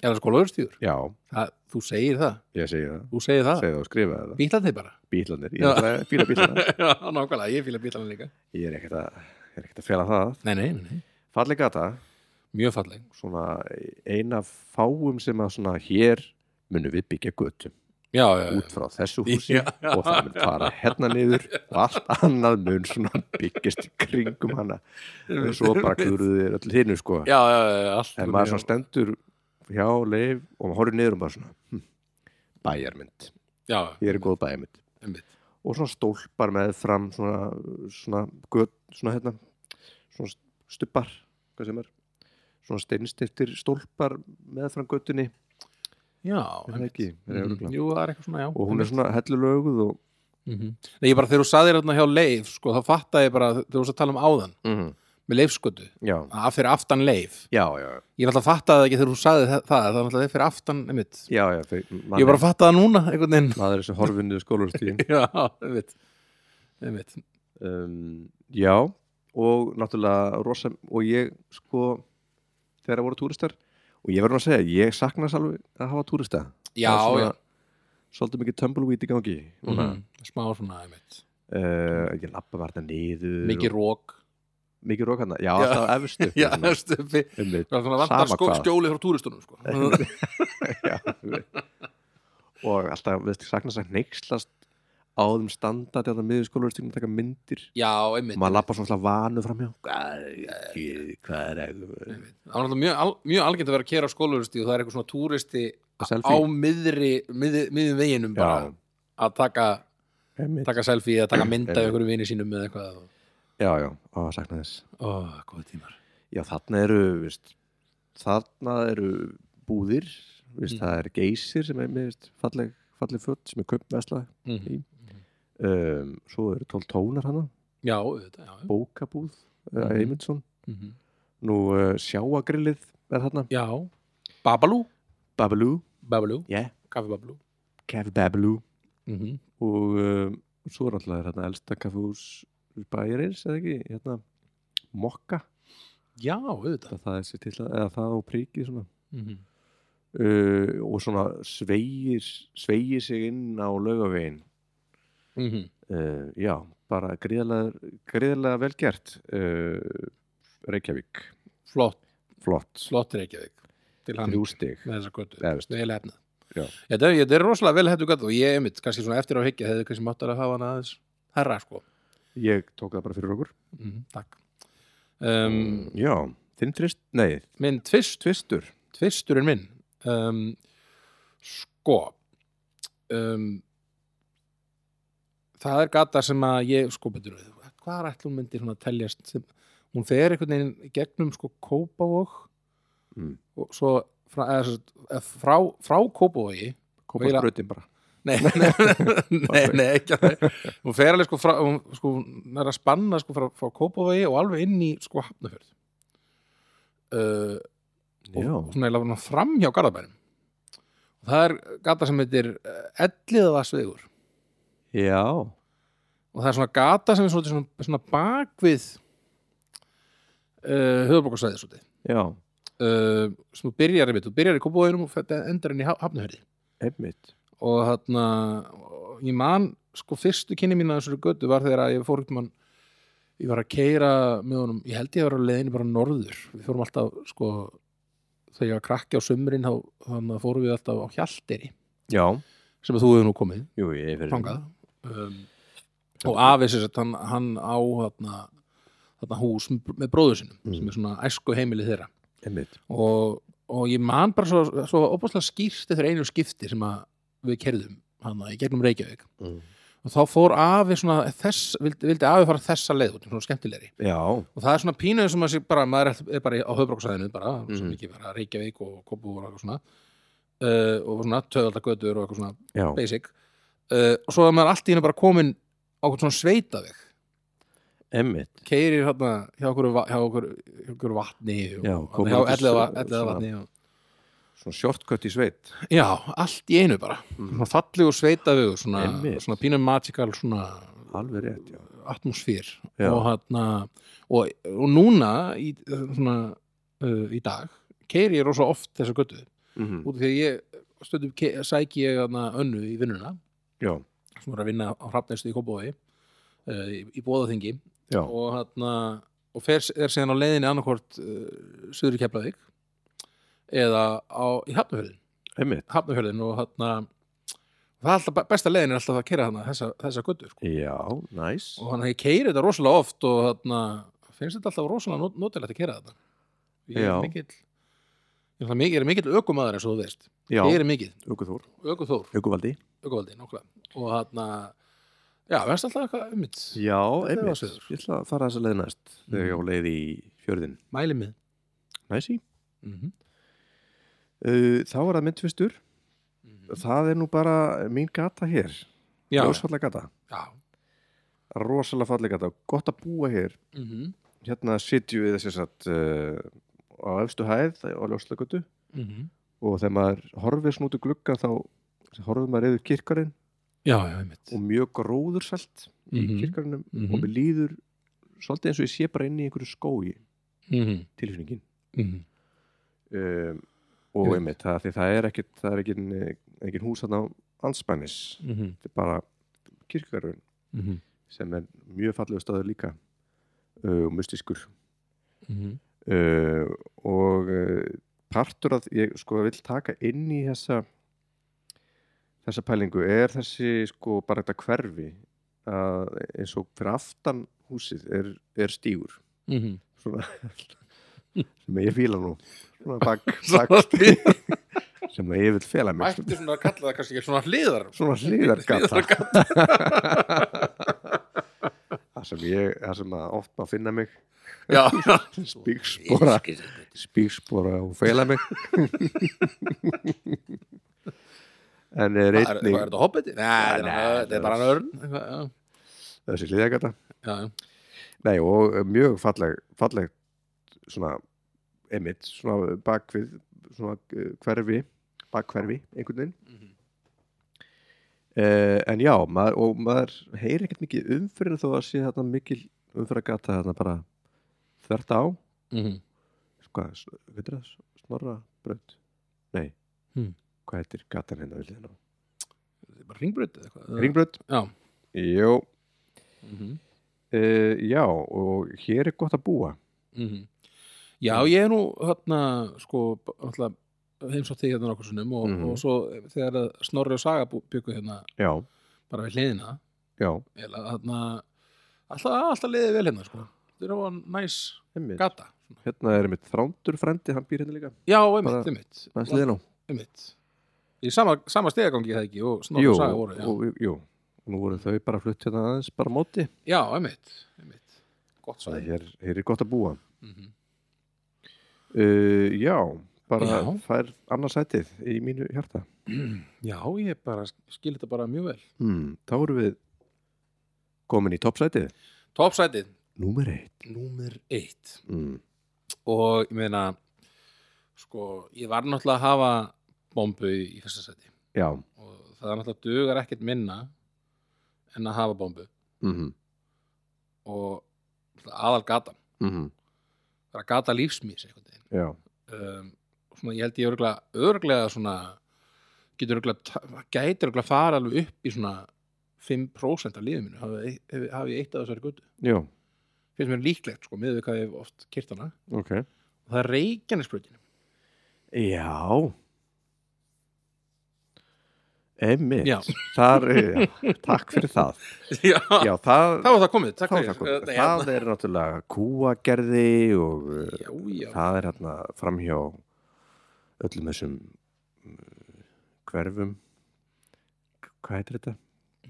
S1: eða skólaverðstíður,
S2: Já, Ah.
S1: þú segir það
S2: ég segi það,
S1: þú segir það,
S2: segi það og skrifa það
S1: bílandi bara
S2: Bílarnir, ég
S1: Já.
S2: er náttúrulega að fíla bílarna
S1: Já, nákvæmlega, ég fýla bílandi líka
S2: Ég er ekkert að, ég er ekkert að fela það
S1: Nei, nei, nei, nei.
S2: Falleg gata,
S1: mjög falleg
S2: svona eina fáum sem að svona hér munum við byggja götu
S1: Já, já, já.
S2: út frá þessu húsi
S1: Já.
S2: og það mun fara hérna niður og allt annað mun svona byggjast í kringum hana og svo bara klúruðu þér öll hinu sko
S1: já, já, já, allt
S2: en maður svona stendur hjá leif og maður horfir niður og bara svona hm, bæjarmynd,
S1: Já,
S2: ég er góð bæjarmynd
S1: einmitt
S2: og svona stólpar með fram svona, svona göt, svona hérna svona stubbar, hvað sem er svona steinstiftir stólpar með fram göttunni,
S1: Já,
S2: er það ekki, er það
S1: Mhm.
S2: örugglega?
S1: Jú, það er eitthvað svona, já
S2: og hún er svona hellulöguð og
S1: mm Nei, ég bara þegar þú saðir hérna hjá Leif sko, þá fattaði ég bara, þegar þú varst að tala um áðan
S2: mm,
S1: með Leifskötu,
S2: já,
S1: að fyrir aftan Leif
S2: já, já, já.
S1: Ég náttúrulega fattaði það ekki þegar þú saði það það er náttúrulega fyrir aftan, einmitt
S2: Já, já, fyrir, mann,
S1: Ég bara fattaði það núna, einhvern veginn
S2: maður er sem horfinn niður skólarstíðin
S1: Já, einmitt, einmitt.
S2: um, Já, og náttúrulega rosa, og ég sko þegar að voru túristar og ég verður að segja, ég sakna þess alveg að hafa túrista
S1: Já,
S2: Það er
S1: já
S2: Svolítið mikið tumbleweed í gangi mm
S1: Mhm. Smá svona, einmitt
S2: uh, Ég lappa bara þarna niður
S1: Mikið
S2: og-
S1: rók
S2: Mikið rók hann, já,
S1: Já.
S2: alltaf efstu
S1: Já, stöfi
S2: einmitt
S1: Það er svona
S2: Sama
S1: vantar sko,
S2: hvað.
S1: skjóli frá túristunum sko.
S2: já, einmitt. Og alltaf, veist, sakna þess að neykslast á þeim standa til að miður skólarstíðin að taka myndir
S1: Já,
S2: og
S1: einmitt
S2: maður lappa svona alltaf vanu framhjá hvað, hvað er það
S1: Það var náttúrulega mjög, al, mjög algjönd að vera að kera á skólaverustí og það er eitthvað svona túristi á
S2: selfie
S1: miðri, miði, miðum veginum bara
S2: já,
S1: að taka,
S2: einmitt.
S1: taka selfie eða taka mynda af
S2: Einmitt.
S1: einhverjum vini sínum eða eitthvað
S2: já, já, á að sakna þess
S1: Ó, góða tímar
S2: já, þarna eru, veist þarna eru búðir veist,
S1: Mm.
S2: það er geysir sem er veist, falleg, falleg fött sem er kaupvesla
S1: mm.
S2: um, svo eru tól tónar hana
S1: Já, auðvitað, já
S2: bókabúð, uh,
S1: Mhm.
S2: Eymundsson
S1: mm -hmm.
S2: nú uh, sjáagrillið er þarna,
S1: Já, Babalú
S2: Babalú
S1: Babalú,
S2: yeah.
S1: kaffi Babalú
S2: Kev Babalú
S1: mm -hmm.
S2: og um, svo er alltaf þarna elsta kaffús bæjarins eða ekki, hérna Mokka
S1: Já, auðvitað
S2: það, það er sér til að, eða það og príkið svona
S1: mm -hmm.
S2: uh, og svona sveigir sveigir sig inn á laugavegin
S1: Mhm.
S2: uh, já, bara gríðlega gríðlega vel gert uh, Reykjavík,
S1: Flott,
S2: flott
S1: flott reykjavík til hann
S2: þrjú stig
S1: með þessa götu
S2: Efst.
S1: vel efnað
S2: Já.
S1: þetta, er- þetta er rosalega vel hættu gata og ég einmitt, kannski svona eftir á higgja hefði kannski máttar að hafa hana aðeins herra sko
S2: ég tók það bara fyrir okkur
S1: mm, takk um,
S2: já, þinn tvist, nei,
S1: minn tvist,
S2: tvistur
S1: tvisturinn minn um, sko um, það er gata sem að ég sko betur við hvað er ætlum myndi svona teljast sem, hún fer einhvern veginn í gegnum sko Kópavog
S2: Mm.
S1: og svo frá, eða, sem sagt, eða frá, frá Kópavogi
S2: kópa
S1: Eiginlega-
S2: sprautin bara
S1: Nei, nei, nei, nei, ekki að það Hún fer alveg sko frá, hún sko, hún er að spanna sko frá, frá Kópavogi og alveg inn í sko Hafnafjörð uh,
S2: já,
S1: og svona ég lafði hann fram hjá Garðabærum og það er gata sem heitir eh, Elliðavarsvegur
S2: já,
S1: og það er svona gata sem er svona, svona, svona bakvið uh, höfðbókarsvæði svona
S2: já
S1: uh, sem þú byrjar einmitt, þú byrjar í Kópavoginum og þetta endar inn í Hafnafjörði
S2: einmitt,
S1: og þarna og ég man, sko fyrstu kynni mín að þessari götu var þegar að ég fór einhvern mann ég var að keira með honum ég held ég var á leiðinni bara norður við fórum alltaf, sko þegar ég var krakki á sumrin þá, þannig að fórum við alltaf á Hjalteri
S2: já
S1: sem að þú hefur nú komið,
S2: jú, ég fyrir
S1: þangað um, og afi sér sett, hann, hann á þarna, þarna hús með bróður sinum,
S2: Mm.
S1: sem er svona æsku heimili þeirra
S2: einmitt,
S1: og, og ég man bara svo, svo opaslega skýrt eftir einu skipti sem að við kerðum hann í gegnum Reykjavík
S2: mm.
S1: og þá fór afi svona þess, vildi, vildi afi fara þessa leið út, svona skemmtilegri
S2: já
S1: og það er svona pínuð sem að sé bara maður er- er bara í- á höfbróksæðinu bara,
S2: Mhm.
S1: sem ekki bara Reykjavík og Kópú og eitthvað svona uh, og svona töðaldagötur og eitthvað svona
S2: Já,
S1: basic uh, og svo er maður allt í henni bara komin á eitthvað svona sveitaveg
S2: emmitt
S1: keirir hérna hjá okkur, va- hjá okkur, hjá okkur vatni og,
S2: Já,
S1: og,
S2: komin
S1: hjá
S2: út í
S1: elliða
S2: s-
S1: elliða
S2: svona-
S1: vatni og,
S2: Svona shortcut í sveit Mm,
S1: já, allt í einu bara svona falleg og sveitavegur svona,
S2: Einmitt.
S1: svona pínum magical svona
S2: Alveg rétt, já
S1: atmosfér
S2: Já.
S1: og, hana, og, eh, og núna í, svona, uh, í dag keiri ég rosa oft þessa götu
S2: mhm,
S1: út af því að ég stundum ke- sæki ég hana önnu í vinnuna
S2: já,
S1: sem er að vinna á hrafnæstu í Kópavói uh, í, í Bóðaþingi
S2: já,
S1: og, hana, og fer, er síðan á leiðinni annarkvort uh, Suður í Keflavík eða á, í Hafnafjörðin
S2: einmitt
S1: Hafnafjörðin og hana, það er alltaf, besta leiðin er alltaf að kera hana þessa, þessa göttur sko.
S2: já, næs
S1: og þannig að ég keiri þetta rosalega oft og þarna finnst þetta alltaf rosalega not notilegt að keira þetta ég
S2: Já.
S1: er mikill ég er náttúrulega mikill, ég er mikill ökumaður eins og þú veist
S2: já,
S1: ég er mikill,
S2: aukuþór,
S1: ökuþór,
S2: aukuvaldi
S1: ökuvaldi nokkla og þarna já, finnst alltaf eitthvað um mitt
S2: já,
S1: er
S2: einmitt,
S1: vatnsveður.
S2: ég ætla að fara þess að leið næst þegar
S1: Mm.
S2: ég á leið í fjörðin
S1: mæli mið
S2: næsi,
S1: mm -hmm.
S2: uh, þá er það myndfistur
S1: Mhm.
S2: það er nú bara mín gata hér
S1: já,
S2: ljósfalla gata
S1: já
S2: rosalega fallega gata, gott að búa hér
S1: mm -hmm.
S2: hérna sitjum við þess að uh, á efstu hæð á ljóslagötu
S1: Mhm.
S2: og þegar maður horfir svona út í glugga þá horfir maður yfir kirkarinn
S1: já, já, einmitt
S2: og mjög gróðursælt
S1: Mhm.
S2: í kirkarinnum
S1: Mhm.
S2: og mér líður svolítið eins og ég sé bara inn í einhverju skói
S1: mm -hmm.
S2: tilfinningin
S1: Mm -hmm.
S2: um, og
S1: Einmitt.
S2: einmitt, það, því það er ekkit það er ekkit, ekkit hús þarna anspænis
S1: Mm -hmm.
S2: þetta er bara kirkarinn
S1: Mm
S2: sem er mjög fallegur staður líka uh, og mystiskur
S1: -hmm.
S2: uh, og uh, partur að ég sko vil taka inn í þessa þessa pælingu er þessi sko bara þetta hverfi að eins og fyrir aftan húsið er, er stígur
S1: Mm -hmm.
S2: svona sem ég fíla nú svona bak, bak,
S1: Mætti
S2: sem ég vil fela mig
S1: svona að kalla það kannski ekki svona hliðar
S2: svona hliðargata það sem ég það sem að oft má finna mig
S1: Já,
S2: spíkspora spíkspora og feila mig en er
S1: Hvað er, hvað er
S2: einnig
S1: þetta hoppiti? Nei, þetta er
S2: nei,
S1: bara- þetta er bara nörn
S2: þessi hliðagata
S1: Já, já,
S2: nei og mjög falleg falleg svona emitt, svona bakvið svona eh, hverfi, bakkverfi einhvern veginn
S1: Mhm.
S2: uh, en já, maður, og maður heyri ekkert mikið umfyrir þó að sé þarna mikil umfyragata þarna bara þvert á
S1: Mhm.
S2: hvað, s- veitir það, snorra braut nei,
S1: Hmm.
S2: hvað heitir gatan hérna við hliðina á?
S1: Þetta er bara ringbröð eða eitthvað
S2: Ringbraut?
S1: Eh, Já
S2: Jó
S1: Mhm.
S2: uh, Já, og hér er gott að búa
S1: Mhm. Já, ég er nú hérna, sko, alltaf heimsótt þig hérna nokkur sinnum og,
S2: Mhm.
S1: og svo þegar að Snorri og Saga bú- bjuggu hérna
S2: Já,
S1: bara við hliðina
S2: já
S1: eða hérna alltaf, alltaf liðið vel hérna, sko Þetta er á næs
S2: einmitt.
S1: gata
S2: Hérna er mitt þrándur frendi, hann býr hérna líka
S1: Já, einmitt,
S2: Bara-
S1: einmitt
S2: Það er sliðin á
S1: Einmitt Í sama, sama stegagangi það ekki og Snorri
S2: Jú,
S1: og Saga voru já.
S2: og, jú, nú voru þau bara flutt hérna aðeins bara á móti
S1: já, einmitt, einmitt Gott
S2: Það er
S1: svæði
S2: hér, hér er gott að búa
S1: Mhm.
S2: uh, Já, bara
S1: Já.
S2: fær annarsætið í mínu hjarta
S1: Já, ég bara skil þetta bara mjög vel
S2: hmm, Þá erum við komin í toppsætið
S1: Topsætið,
S2: Númer eitt
S1: númer eitt
S2: mm.
S1: og ég meina sko, ég var náttúrulega að hafa bombu í fyrsta sæti
S2: Já
S1: og það er náttúrulega dugar ekkert minna en að hafa bombu
S2: mm -hmm.
S1: og náttúrulega aðal gata
S2: Mm -hmm.
S1: það er að gata lífsmís einhvern veginn
S2: Já,
S1: um, og svona, ég held ég örglega, örglega svona, getur örglega gæti örglega fara alveg upp í svona 5% af lífið mínu hafi, hafi, hafi ég eitt af þessari guttu
S2: já,
S1: finnst mér líklegt sko, miður við hvað ég hef oft kyrt hana
S2: ok
S1: og það er reikjanisbrötin
S2: Já Einmitt
S1: Já.
S2: Þar, já, Takk fyrir það
S1: Já,
S2: Já, það,
S1: þá er það komið, takk Hérna,
S2: þá er það, komið. það er náttúrulega kúagerði og uh,
S1: Já, já,
S2: það er hérna framhjá öllum þessum uh, hverfum hvað heitir þetta?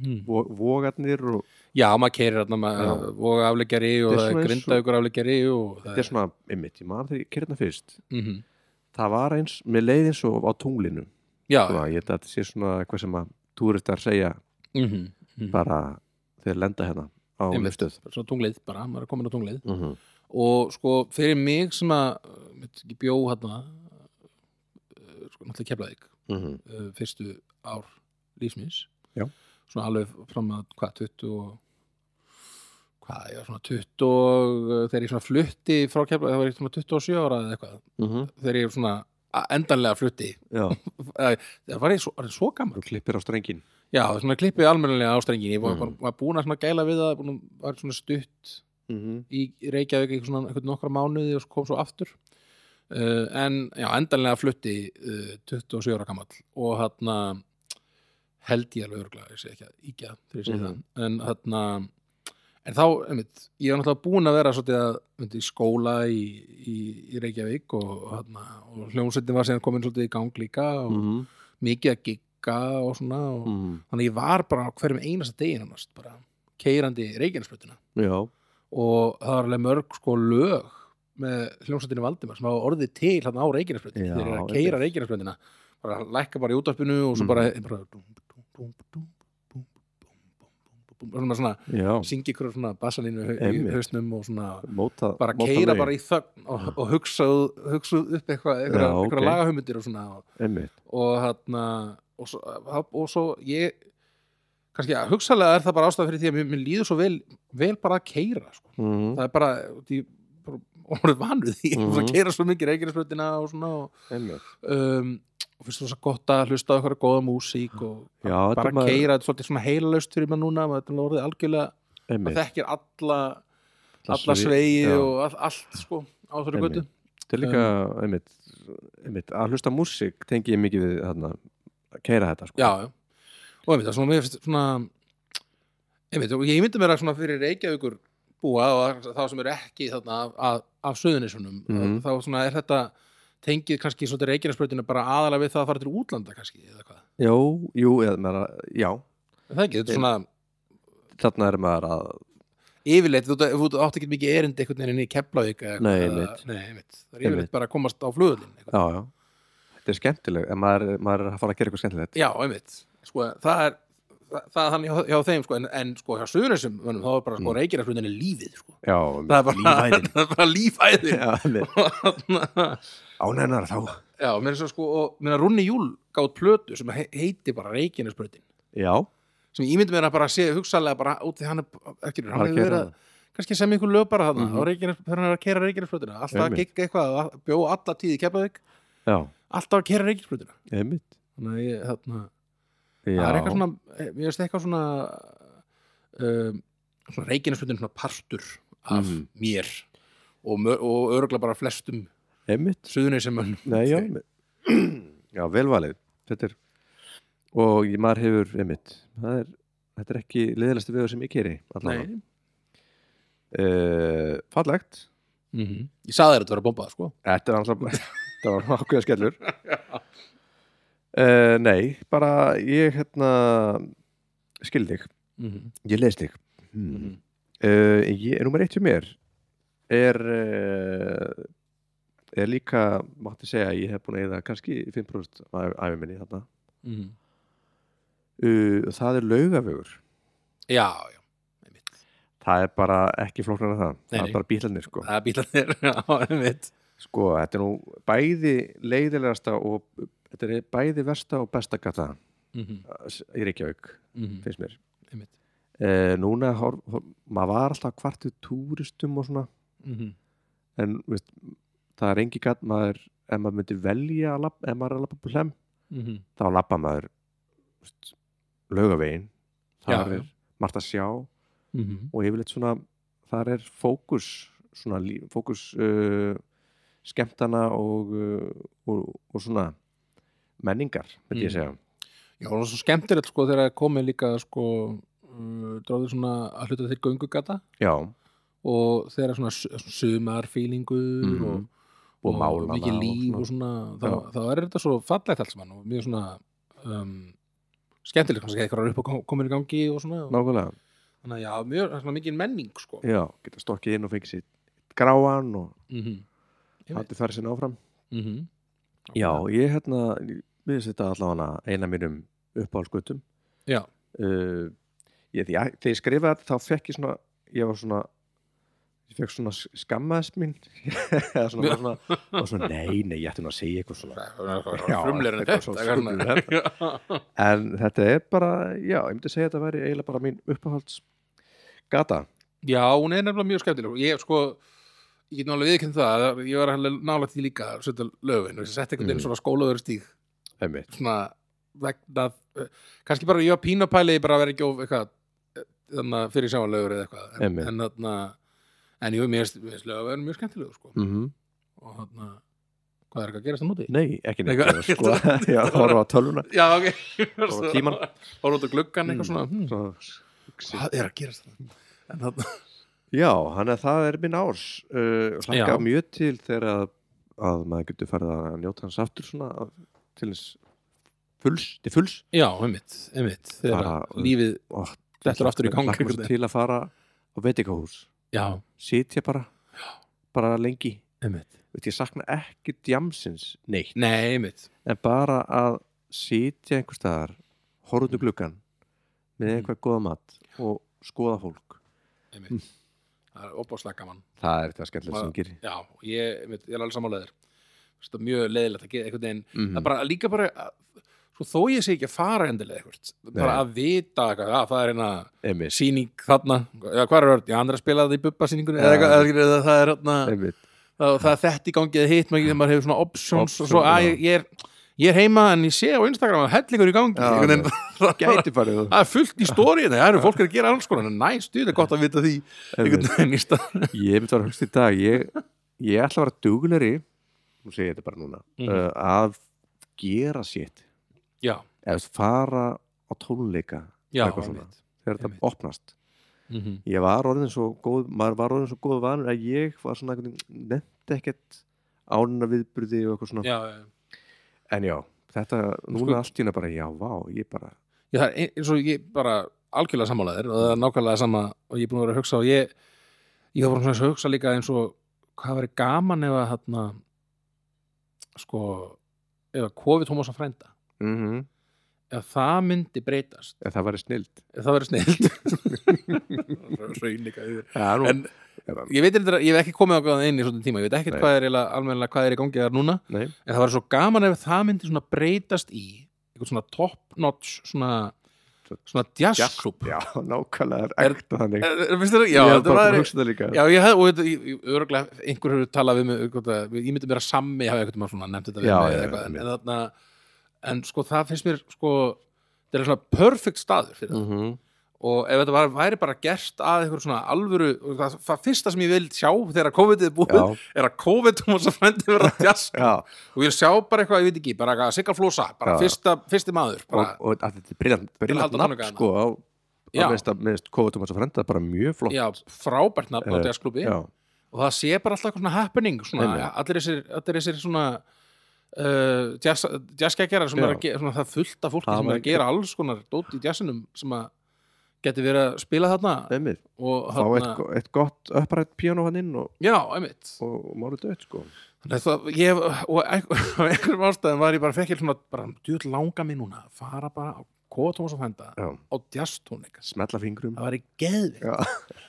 S1: Hmm.
S2: Vo- Vogarnir og
S1: já maður keirir hérna með
S2: Já.
S1: voga afleggjari og
S2: Þetta er
S1: það
S2: svona
S1: er
S2: eins og-
S1: grinda ykkur afleggjari og það
S2: þetta er svona, einmitt, ég man þegar ég kyrna fyrst
S1: Mhm.
S2: það var eins, mér leið eins og á tunglinu
S1: Já,
S2: svona, ég þetta sé svona eitthvað sem að túristar segja
S1: mhm, mhm.
S2: bara þeir lenda hérna á
S1: Einmitt.
S2: lifstöð
S1: Bara svona tunglið bara, maður er komin á tunglið
S2: mm -hmm.
S1: og sko fyrir mig sem að uh, veit ekki, bjó hérna uh, sko náttúrulega keflaðik
S2: Mm -hmm.
S1: uh, fyrstu ár lífsmins
S2: Já.
S1: svona alveg fram að hvað 20 og hvað, já, svona 20 og, uh, þegar ég svona flutti frá keflaðik það var ég svona 27 ára eða eitthvað
S2: Mm -hmm.
S1: þegar ég svona a- endanlega flutti
S2: já,
S1: Eh, það var ég svo, var ég svo gammal
S2: þú klippir á strengin
S1: já, svona klippið almennilega ástrengin ég var,
S2: Mm.
S1: mm. var búin að svona gæla við það búin, að- var svona stutt
S2: mhm,
S1: í Reykjavík einhvern svona einhvern nokkra mánuði og svo kom svo aftur uh, en já, endanlega flutti uh, 27 ára gamall og þarna held ég alveg örgulega, ég segi ekki að íkja þegar ég segi
S2: Mhm.
S1: það, en þarna en þá, einmitt, ég var náttúrulega búin að vera svolítið að, einmitt, í skóla í, í, í Reykjavík og, þarna, og hljómsveitin var síðan komin svolítið í gang líka og
S2: mhm,
S1: mikið að gigga og svona og,
S2: mhm,
S1: þannig að ég var bara á hverjum einasta degin annars, bara keirandi Reykjanesbrutina
S2: já,
S1: og það var alveg mörg sko lög með hljómsættinu Valdimar sem hafa orðið til hann á Reykjanesbröndin
S2: Já,
S1: þeir eru að
S2: einmitt.
S1: keira Reykjanesbröndina bara lækka bara í útvarpinu og svo
S2: Mm.
S1: bara, bara og svona, svona
S2: já
S1: syngi ykkur svona bassalínu í- í
S2: Einmitt.
S1: hausnum og svona
S2: móta,
S1: bara
S2: móta
S1: keira
S2: lögin.
S1: bara í þögn og, og hugsa, hugsa upp eitthvað eitthvað,
S2: Já,
S1: eitthvað
S2: ok.
S1: lagahumundir og svona og,
S2: einmitt,
S1: og þarna og svo, og svo ég kannski að hugsalega er það bara ástæða fyrir því að mér, mér líður svo vel, vel bara að keira sko
S2: mhm,
S1: það er bara, því, bara orðið van við því, mm
S2: Mhm.
S1: -hmm. keira svo mikið reikinsbröndina og svona og,
S2: einmitt
S1: um, og finnst þú svo gott að hlusta á eitthvað góða músík og
S2: já,
S1: bara
S2: þetta er maður-
S1: keira, þetta er svolítið svona heilalaust fyrir maður núna, maður þetta er orðið algjörlega maður
S2: einmitt,
S1: þekkir alla,
S2: Alla
S1: alla
S2: svei-
S1: svegi
S2: já.
S1: og all, allt sko á þeirra
S2: Einmitt.
S1: götu
S2: þetta er líka
S1: Mhm.
S2: einmitt, einmitt, að hlusta á músík tengi ég mikið við þarna að keira þetta sko
S1: já, já. og einmitt, það er svona, mér finnst svona einmitt, og ég myndi mér að svona fyrir Reykjavíkur búa og þá sem eru ekki þarna af, af, af söðunisunum
S2: Mhm.
S1: þá svona er þetta tengið kannski svolítið Reykjavíksbrötinu bara aðalega við það að fara til útlanda kannski eða hvað,
S2: Jú, jú, eða maður að, já,
S1: er það ekki, þetta er svona
S2: þarna er maður að,
S1: yfirleitt, þú, þú þú átt ekki mikið erindi einhvern veginn inn í Keflavík eða eitthvað.
S2: Nei, einmitt.
S1: Nei, einmitt. það er yfirleitt
S2: Einmitt.
S1: bara að komast á flugulinn
S2: já, já, þetta er skemmtileg, en maður, maður er að fara að gera eitthvað skemmtilegt.
S1: Já, einmitt sko, það er það, það er þannig hjá, hjá þeim sko, en, en sko hjá söðunisum þá er bara sko, mm. lífið sko.
S2: Já,
S1: það er bara,
S2: lífæðin.
S1: það er bara lífæðin
S2: já, einmitt, ánægnar þá.
S1: já, mér er svo sko og mér er Rúnni Júl gátt plötu sem he- heiti bara Reykjanesbrötin
S2: Já,
S1: sem ég myndi mér að bara sé hugsalega bara út því hann er ekki,
S2: Bara
S1: hann hefur
S2: keyra
S1: verið
S2: það.
S1: að kannski sem ykkur lög bara þarna
S2: Mhm.
S1: á Reykjanes, þegar hann er að kera Reykjanesbrötina alltaf að
S2: Einmitt.
S1: gigga eitthvað, að bjó alla tíð í Keflavík
S2: já,
S1: alltaf að kera Reykjanesbrötina
S2: einmitt.
S1: þannig að ég, þarna,
S2: Já,
S1: það er eitthvað svona, eh, mér finnst eitthvað svona um, svona Reykjanesbrötin svona partur af
S2: Mhm.
S1: mér og, mö- og örgla bara flestum
S2: einmitt.
S1: suðunisemönnum
S2: Nei, já, já, velvalið, þetta er, og ég- maður hefur, einmitt, það er, þetta er ekki liðilegstu veður sem ég keri, allavega.
S1: Nei.
S2: Uh, fallegt,
S1: Ég saði þér að þetta verið að bomba sko.
S2: Þetta var alltaf Þetta var ákveða skellur uh, Nei, bara ég hérna skildi þig, ég leist þig mm.
S1: Mhm.
S2: uh, ég, Númer eitt hjá mér er uh, er líka mátti segja að ég hef búin að eyða kannski 5% af æfi minni þarna
S1: Mhm.
S2: uh, það er laugavögur
S1: Já, já, einmitt
S2: það er bara ekki flóknar að það
S1: Nei,
S2: það
S1: nei.
S2: er bara bílarnir sko
S1: Það er bílarnir, já, einmitt
S2: sko, þetta er nú bæði leiðilegasta og þetta er bæði versta og besta gata í Reykjavík,
S1: Mhm. Einmitt
S2: finnst mér e, núna, hor, hor, maður var alltaf kvartið túristum og svona
S1: Mhm.
S2: en veist, það er engi gatt maður, ef maður myndi velja að labba, ef maður er að labba upp á hlem
S1: Mhm.
S2: þá labba maður veist, laugavegin þar
S1: Já,
S2: er margt að sjá og
S1: Mhm.
S2: yfirleitt svona, þar er fókus svona líf, fókus uh, skemmtana og, uh, og, og svona menningar, myndi
S1: Mm.
S2: ég segja
S1: Já, og svo skemmtilegt sko þegar það komið líka sko uh, dróðið svona að hluta til göngugata
S2: já,
S1: og þeirra svona su- sumarfílingur
S2: Mhm.
S1: og,
S2: Og málmana
S1: mikið
S2: og
S1: líf
S2: svona.
S1: og svona, þá,
S2: Já.
S1: þá er þetta svo fallegt allt saman og mjög svona um, skemmtilegt kannski eitthvað er upp og komin í gangi og svona og,
S2: nákvæmlega
S1: þannig að já, mjög, það er svona mikið menning sko
S2: já, geta stokkið inn og fengið sér gráan og
S1: Mhm, Einmitt.
S2: haldið færi sinna áfram
S1: mhm.
S2: Já, ég hérna, við setja allavega eina mínum uppáhalsgötum
S1: Já.
S2: uh, ég, því, að- Þegar ég skrifaði þetta þá fekk ég svona ég var svona ég fekk svona skammaðist mín eða svona, var svona, var svona nei, nei, ég ætti nú að segja eitthvað svona Já,
S1: frumleir en
S2: eitthvað
S1: þetta
S2: svona hérna.
S1: eitthvað svona.
S2: frumlegri en en þetta er bara, já, ég myndi segja þetta væri eiginlega bara mín uppáhaldsgata
S1: Já, hún er nefnilega mjög skemmtileg og ég sko ég get nálega viðkynnt það að ég var alveg nálega til líka að setja löfin og ég setti einhvern veginn
S2: Mhm.
S1: svona skólaður stíg
S2: einmitt
S1: svona vegna eh, kannski bara ég var pínapæli bara að vera ekki of eitthvað eh, þarna fyrir sjáanlegur eða eitthvað en,
S2: Einmitt.
S1: en þarna en jú, mér finnst- mér finnst lögavegurinn mjög skemmtilegur sko.
S2: mm -hmm.
S1: og þarna, hvað er ekki að gerast á móti?
S2: Nei, ekki neitt
S1: Eitthvað-
S2: sko, Já, horfa á tölvuna
S1: Já, ok
S2: Horfa á tímann.
S1: Hóra út á gluggan
S2: Mm.
S1: eitthvað svona hmm,
S2: Svo-
S1: Hvað er að gerast það? En þarna
S2: Já, hann er það er minn árs uh,
S1: Já.
S2: Hlakka mjög til þegar að, að maður getur farið að njóta hans aftur svona að- til hans fulls, til fulls
S1: Já, einmitt, einmitt Þegar
S2: Bara-
S1: að lífið,
S2: og
S1: Dettur aftur í gang
S2: hlakka mér
S1: einhvern
S2: svo til að fara á veitingahús
S1: já,
S2: sitja bara, bara lengi
S1: einmitt
S2: Veit, ég sakna ekki djamsins neitt
S1: Nei, einmitt
S2: en bara að sitja einhver staðar horfðu gluggan
S1: Mhm.
S2: með eitthvað góða mat og skoða fólk
S1: Einmitt Það er opáslega gaman
S2: það er þetta skemmtilegt sem
S1: Maður-
S2: gerir
S1: Já, og ég, einmitt, ég er alveg sammálaður Það er mjög leiðilegt að geta einhvern veginn
S2: mm
S1: Það er bara líka bara að, Svo þó ég sé ekki að fara endilega eitthvað Bara
S2: Nei.
S1: að vita eitthvað, að það er hérna
S2: einmitt,
S1: Sýning þarna, já, hvað er öll? Já, hann er að spila það í bubba sýningunni
S2: Já.
S1: eða eitthvað, eða eitthvað, eða það er hérna
S2: einmitt.
S1: það, það er þetta í gangi eða hitt maður, getur- maður hefur svona options og svo
S2: Options,
S1: að
S2: já.
S1: ég, ég, er, ég er heima en ég sé á Instagram að hellingur í gangi
S2: Já,
S1: einhvern veginn. það
S2: gæti farið það
S1: er fullt í stóriðinu, það eru fólk er að gera alls konar en næst, þetta er gott að vita því einhvern
S2: Einmitt.
S1: veginn í stað
S2: ég myndi að hugsa í dag ég, ég ætla að vera dugleri nú segi ég þetta bara núna
S1: Mhm.
S2: uh, að gera sitt
S1: já,
S2: eða þú veist, fara á tónleika
S1: já,
S2: eitthvað svona,
S1: einmitt.
S2: þegar þetta
S1: einmitt.
S2: opnast
S1: Mhm.
S2: ég var orðin svo góð maður var orðin svo góð vanur að ég var svona nefndi ekkert ánuna viðburði og eitthvað svona
S1: já, já, já.
S2: en já, þetta
S1: Sko-
S2: núna allt í hérna bara já, vá, ég bara
S1: Já, það er ein- eins og ég bara algjörlega sammálaðir og það er nákvæmlega sama og ég er búin að vera að hugsa og ég, ég var svona að hugsa líka eins og hvað verið gaman ef að hérna, sko ef að kofi Tómas að frænda
S2: mm -hmm.
S1: ef það myndi breytast
S2: það væri snild
S1: ef það verið snild Raunika yfir
S2: ja, nú,
S1: En-
S2: en,
S1: Ég veit eitthvað, ég hef ekki komið á góðan inn í svona tíma ég veit ekkert
S2: Nei.
S1: hvað er eiginlega, almennilega hvað er í gangi þar núna
S2: nei,
S1: en það var svo gaman ef það myndi svona breytast í eitthvað svona top notch svona, svona jazzklub
S2: já, nákvæmlega er ekta þannig
S1: Finnst þér það? Já,
S2: ég
S1: þetta
S2: bara
S1: var
S2: að hugsa það líka
S1: Já, ég hef, og þetta, ég- ég- örugglega einhver hefur talað við mig, eitthvað, að- ég myndi mér að sammi hafa einhvern veginn svona nefnt þetta við
S2: Já, já,
S1: mig eða
S2: já,
S1: eitthvað, en,
S2: einmitt.
S1: en þarna en sko það finnst mér, sko þetta er svona perfect staður fyrir það
S2: mm -hmm.
S1: og ef þetta var, væri bara gert að einhver svona alvöru, og það, það fyrsta sem ég vil sjá þegar COVID er búið,
S2: já,
S1: er að COVID og þess að frendi vera djask
S2: já
S1: og ég vil sjá bara eitthvað, ég veit ekki, bara að sigga flósa bara
S2: Já.
S1: fyrsta, fyrsti maður
S2: og,
S1: bara,
S2: og að þetta er briljant briljant
S1: halda
S2: nafn
S1: tónleikana.
S2: sko á,
S1: Já.
S2: á meðist að meðist Kóðu Tómas og Frenda bara mjög flott
S1: já, frábært nafn á
S2: Eh,
S1: djasklubi
S2: já,
S1: og það sé bara alltaf eitthvað svona happening svona,
S2: Einmitt.
S1: allir þessir, allir þessir svona uh, jazz- jazzgækjarar sem
S2: Já.
S1: er að gera, svona það er fullt af fólki
S2: Það
S1: sem
S2: var
S1: er að gera alls konar dót í jazzinum sem að geti verið að spila þarna
S2: einmitt
S1: og
S2: fá eitt,
S1: þarna,
S2: go- eitt gott upprætt piano hann inn og,
S1: já, einmitt
S2: og, og máli dött sko
S1: Nei, það, ég, og einhver- af einhverjum ástæðum var ég bara fekk ég svona, bara, djúð langa mig núna að fara bara á Kóa Tómas og Fænda
S2: já.
S1: á jazztónleika
S2: smetla fingrum
S1: það var í geðvik
S2: Já.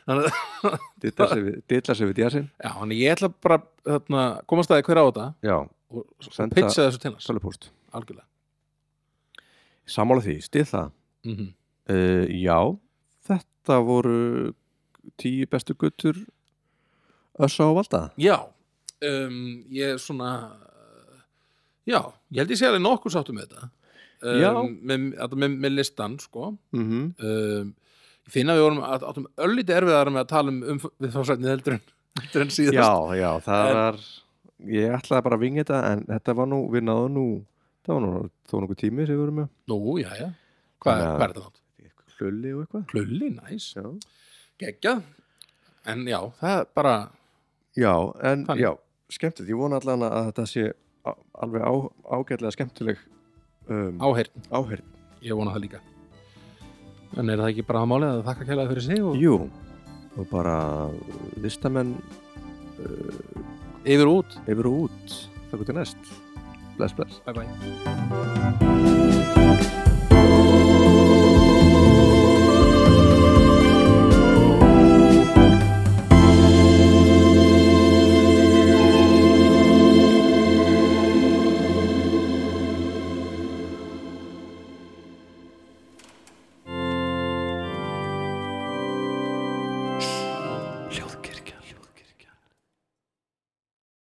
S1: þannig, að-
S2: dilla sig við- dilla sig við djassin
S1: já, þannig ég ætla bara þarna, komast að því hver á þetta
S2: já,
S1: og, og
S2: Senda-
S1: pitcha þessu til hans
S2: sölupúst
S1: algjörlega
S2: sammála því, stið það
S1: mm -hmm.
S2: uh, já, þetta voru tíu bestu guttur össa og valda
S1: já, um, ég svona já, ég held ég sé alveg nokkuð sáttum með þetta Um,
S2: Já.
S1: með, þetta með, með listan sko
S2: mm -hmm.
S1: um, ég finn að við vorum að, áttum öllítið erfiðar með að tala um, um við fórsætnið heldur en, heldur en síðast
S2: já, já, það
S1: En-
S2: var ég ætlaði bara að vinga þetta en þetta var nú, við náðum nú það var nú þó nokkuð tími sem við vorum með
S1: nú, já, já, hvað,
S2: Þannig að-
S1: hvað er þetta nátt?
S2: hlulli og eitthvað
S1: Plulli, næs,
S2: já,
S1: geggjað en já, það er bara
S2: já en
S1: Þannig.
S2: já, skemmtilegt, ég vona allan að þetta sé á- alveg á, ágætlega skemmtileg um,
S1: áheyrn,
S2: áherð
S1: ég vona það líka en er það ekki bara að málið að þakka kælaði fyrir sig og
S2: Jú, og bara listamenn
S1: yfir og út
S2: yfir og út, það til næst bless, bless
S1: bye bye